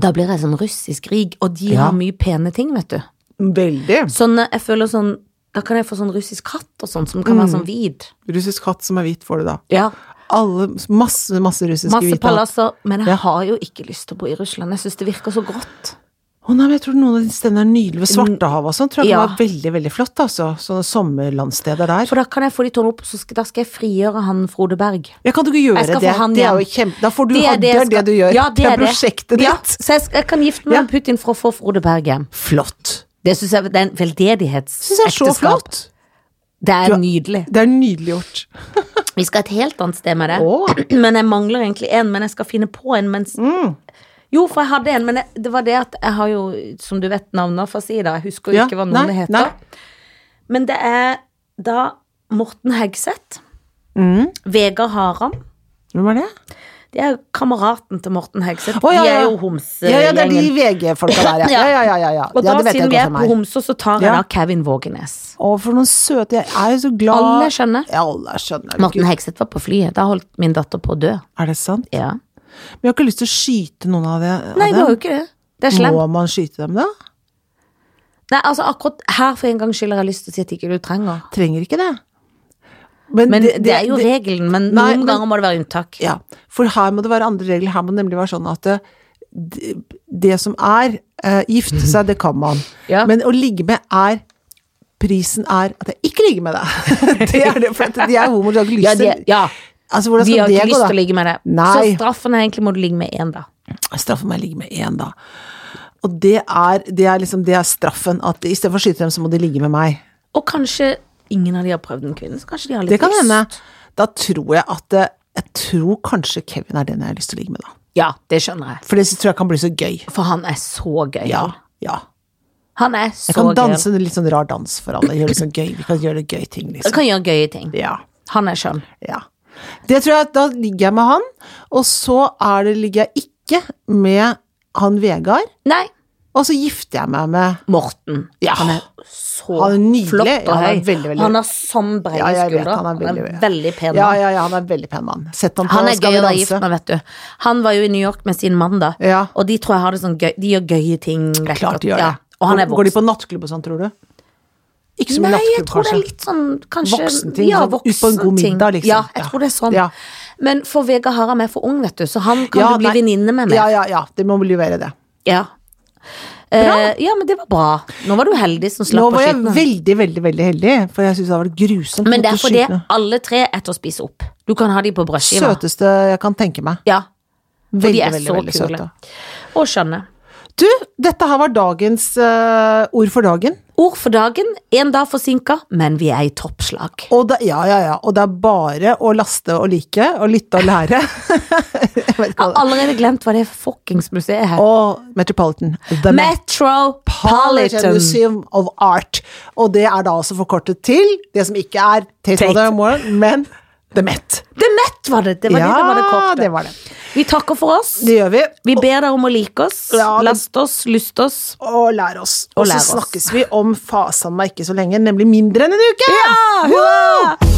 Speaker 2: Da blir jeg sånn russisk rig, og de
Speaker 1: Ja.
Speaker 2: har mye pene ting, vet du.
Speaker 1: Veldig.
Speaker 2: Sånn, eh, jeg føler sånn Da kan jeg få sånn russisk hatt og sånn, som kan være sånn hvit.
Speaker 1: Russisk hatt som er hvit, får du da.
Speaker 2: Ja.
Speaker 1: Alle, masse, masse russiske
Speaker 2: Masse
Speaker 1: hvite hatt.
Speaker 2: palasser, men jeg
Speaker 1: Ja.
Speaker 2: har jo ikke lyst til å bo i Russland. Jeg syns det virker så grått.
Speaker 1: Å nei, men jeg tror noen av de stedene er nydelige ved Svartehavet og sånn. Tror jeg
Speaker 2: Ja.
Speaker 1: kan være veldig, veldig flott, altså. Sånne sommerlandsteder der.
Speaker 2: For da kan jeg få de tårene opp, så skal, da skal jeg frigjøre han Frode Berg.
Speaker 1: Jeg kan du ikke gjøre
Speaker 2: Jeg skal
Speaker 1: det.
Speaker 2: få han
Speaker 1: det er jo
Speaker 2: igjen.
Speaker 1: kjempe... Da får du
Speaker 2: er
Speaker 1: ha det,
Speaker 2: jeg
Speaker 1: er det
Speaker 2: skal-
Speaker 1: du gjør.
Speaker 2: Ja, det er det.
Speaker 1: prosjektet
Speaker 2: Ja,
Speaker 1: ditt.
Speaker 2: så jeg, skal, jeg kan gifte meg
Speaker 1: Ja.
Speaker 2: med Putin for å få Frode Berg hjem.
Speaker 1: Flott.
Speaker 2: Det syns jeg det er en veldedighets-
Speaker 1: Syns jeg er så
Speaker 2: ekteskap.
Speaker 1: flott.
Speaker 2: Det
Speaker 1: Du
Speaker 2: er
Speaker 1: har-
Speaker 2: nydelig.
Speaker 1: Det er nydelig gjort.
Speaker 2: Vi skal et helt annet sted med det.
Speaker 1: Å.
Speaker 2: Men jeg mangler egentlig en, men jeg skal finne på en mens
Speaker 1: Mm.
Speaker 2: Jo, for jeg hadde en, men jeg, det var det at jeg har jo, som du vet, navnet for å si det. Jeg husker jo
Speaker 1: Ja,
Speaker 2: ikke hva
Speaker 1: nei,
Speaker 2: navnet heter.
Speaker 1: nei.
Speaker 2: Men det er da Morten Hegseth,
Speaker 1: Mm.
Speaker 2: Vegard Haram
Speaker 1: Hvem er det?
Speaker 2: De er jo kameraten til Morten Hegseth.
Speaker 1: Å, ja,
Speaker 2: De er
Speaker 1: ja.
Speaker 2: jo homsegjengen.
Speaker 1: Ja, ja, det er de VG-folka der, ja. Ja, ja, ja. ja, ja.
Speaker 2: Og
Speaker 1: ja
Speaker 2: da,
Speaker 1: det vet jeg
Speaker 2: siden vi
Speaker 1: ikke
Speaker 2: er
Speaker 1: hvem
Speaker 2: på
Speaker 1: er.
Speaker 2: homse, så tar jeg
Speaker 1: Ja.
Speaker 2: da Kevin Vågenes.
Speaker 1: Å, for noen søte. Jeg er jo så glad.
Speaker 2: Alle skjønner.
Speaker 1: Ja, alle skjønner.
Speaker 2: Morten Hegseth var på flyet. Da holdt min datter på å dø.
Speaker 1: Er det sant?
Speaker 2: Ja.
Speaker 1: Men jeg har ikke lyst til å skyte noen av det. av
Speaker 2: Nei,
Speaker 1: dem.
Speaker 2: det var jo ikke det. Det er slemt.
Speaker 1: Må man skyte dem, da?
Speaker 2: Nei, altså akkurat her for en gangs skyld har jeg lyst til å si at ikke du trenger.
Speaker 1: Trenger ikke det.
Speaker 2: Men det, er jo regelen, men
Speaker 1: Nei,
Speaker 2: noen
Speaker 1: men-
Speaker 2: ganger må det være unntak.
Speaker 1: Ja, for her må det være andre regler. Her må det nemlig være sånn at det, det, det som er eh, Gifte seg, det kan man.
Speaker 2: Ja.
Speaker 1: Men å ligge med er Prisen er at jeg ikke ligger med deg. det er det, for at de er homo, de har ikke lyst
Speaker 2: Ja, de,
Speaker 1: til
Speaker 2: ja.
Speaker 1: Altså, hvordan
Speaker 2: Vi
Speaker 1: skal
Speaker 2: har
Speaker 1: det
Speaker 2: ikke
Speaker 1: gå,
Speaker 2: lyst
Speaker 1: da?
Speaker 2: til å ligge med det. Så
Speaker 1: Nei.
Speaker 2: straffen er egentlig må du ligge med én, da.
Speaker 1: Straffen meg å ligge med én, da. Og det er, det er liksom det er straffen. At istedenfor å skyte dem, så må de ligge med meg.
Speaker 2: Og kanskje ingen av de har prøvd en kvinne, så kanskje de har litt
Speaker 1: Det kan
Speaker 2: lyst.
Speaker 1: hende. Da tror jeg at eh, Jeg tror kanskje Kevin er den jeg har lyst til å ligge med, da.
Speaker 2: Ja, det skjønner jeg.
Speaker 1: For det tror jeg kan bli så gøy.
Speaker 2: For han er så gøy.
Speaker 1: Ja. ja.
Speaker 2: Han er så
Speaker 1: Jeg kan
Speaker 2: gøy.
Speaker 1: danse en litt sånn rar dans for alle. Gjøre det sånn gøy. Vi kan gjøre det gøy ting,
Speaker 2: Han
Speaker 1: liksom.
Speaker 2: kan gjøre gøye ting.
Speaker 1: Ja.
Speaker 2: Han er skjønn.
Speaker 1: ja. Det tror jeg at da ligger jeg med han, og så er det, ligger jeg ikke med han Vegard.
Speaker 2: Nei,
Speaker 1: Og så gifter jeg meg med
Speaker 2: Morten.
Speaker 1: Ja.
Speaker 2: Han er så
Speaker 1: Han er nydelig.
Speaker 2: flott
Speaker 1: Ja,
Speaker 2: og
Speaker 1: han er
Speaker 2: høy.
Speaker 1: veldig, veldig-
Speaker 2: Han har sånn
Speaker 1: Ja,
Speaker 2: brede
Speaker 1: jeg vet,
Speaker 2: skuldre.
Speaker 1: han er veldig,
Speaker 2: pen.
Speaker 1: Ja,
Speaker 2: mann.
Speaker 1: ja, ja, han er en veldig pen mann. Sett ham på
Speaker 2: Han er
Speaker 1: Skal
Speaker 2: gøy
Speaker 1: vi
Speaker 2: å være
Speaker 1: danse.
Speaker 2: gift med, vet du. Han var jo i New York med sin mann, da.
Speaker 1: Ja.
Speaker 2: Og de tror jeg har det sånn gøy De gjør gøye ting. rett
Speaker 1: Klart de
Speaker 2: og-
Speaker 1: gjør det.
Speaker 2: ja. Og han er
Speaker 1: Går- Går de
Speaker 2: voksen.
Speaker 1: på nattklubb og sånn, tror du? Ikke så mye
Speaker 2: Nei, jeg
Speaker 1: nattklubb,
Speaker 2: tror det er
Speaker 1: kanskje.
Speaker 2: litt sånn kanskje,
Speaker 1: Voksenting,
Speaker 2: Ja,
Speaker 1: sånn ut på en god
Speaker 2: voksenting.
Speaker 1: middag, liksom.
Speaker 2: Ja, jeg
Speaker 1: Ja.
Speaker 2: tror det er sånn.
Speaker 1: Ja.
Speaker 2: Men for Vegard Harald er for ung, vet du, så han kan
Speaker 1: Ja,
Speaker 2: du bli
Speaker 1: nei.
Speaker 2: venninne med. mer.
Speaker 1: Ja, ja, ja. Det må vel gjøre det.
Speaker 2: Ja. Eh, ja, men det var bra. Nå var du heldig som
Speaker 1: Nå
Speaker 2: slapp å
Speaker 1: var jeg
Speaker 2: skyte. den.
Speaker 1: veldig, veldig veldig heldig, for jeg syns det har vært grusomt.
Speaker 2: Men det er
Speaker 1: mot å
Speaker 2: fordi
Speaker 1: skyte noe.
Speaker 2: alle tre er til å spise opp. Du kan ha de på brødskiva.
Speaker 1: Søteste jeg kan tenke meg.
Speaker 2: Ja. For
Speaker 1: Veldig,
Speaker 2: de er
Speaker 1: veldig,
Speaker 2: så
Speaker 1: veldig
Speaker 2: kule.
Speaker 1: søte.
Speaker 2: Og skjønne.
Speaker 1: Du, dette her var dagens eh, ord for dagen.
Speaker 2: Ord for dagen. Én dag forsinka, men vi er i toppslag.
Speaker 1: Og det, ja, ja, ja. Og det er bare å laste og like, og lytte og lære. jeg vet ikke
Speaker 2: Jeg har
Speaker 1: hva det er.
Speaker 2: allerede glemt hva det fuckings museet het.
Speaker 1: Og Metropolitan. The Metropolitan
Speaker 2: Metropolitan.
Speaker 1: Museum of Art. Og det er da også forkortet til det som ikke er Taste of
Speaker 2: Tate.
Speaker 1: the Morning, men The Met.
Speaker 2: The Met var det! Det var det det var det kortet.
Speaker 1: det var det.
Speaker 2: Vi takker for oss.
Speaker 1: Det gjør vi.
Speaker 2: Vi ber dere om å like oss.
Speaker 1: Ja, det-
Speaker 2: Last oss, lyst oss.
Speaker 1: og lære oss. Og
Speaker 2: Og
Speaker 1: så
Speaker 2: lære oss.
Speaker 1: snakkes vi om fasen meg ikke så lenge, nemlig mindre enn en uke!
Speaker 2: Ja,
Speaker 1: Woo!
Speaker 2: hurra!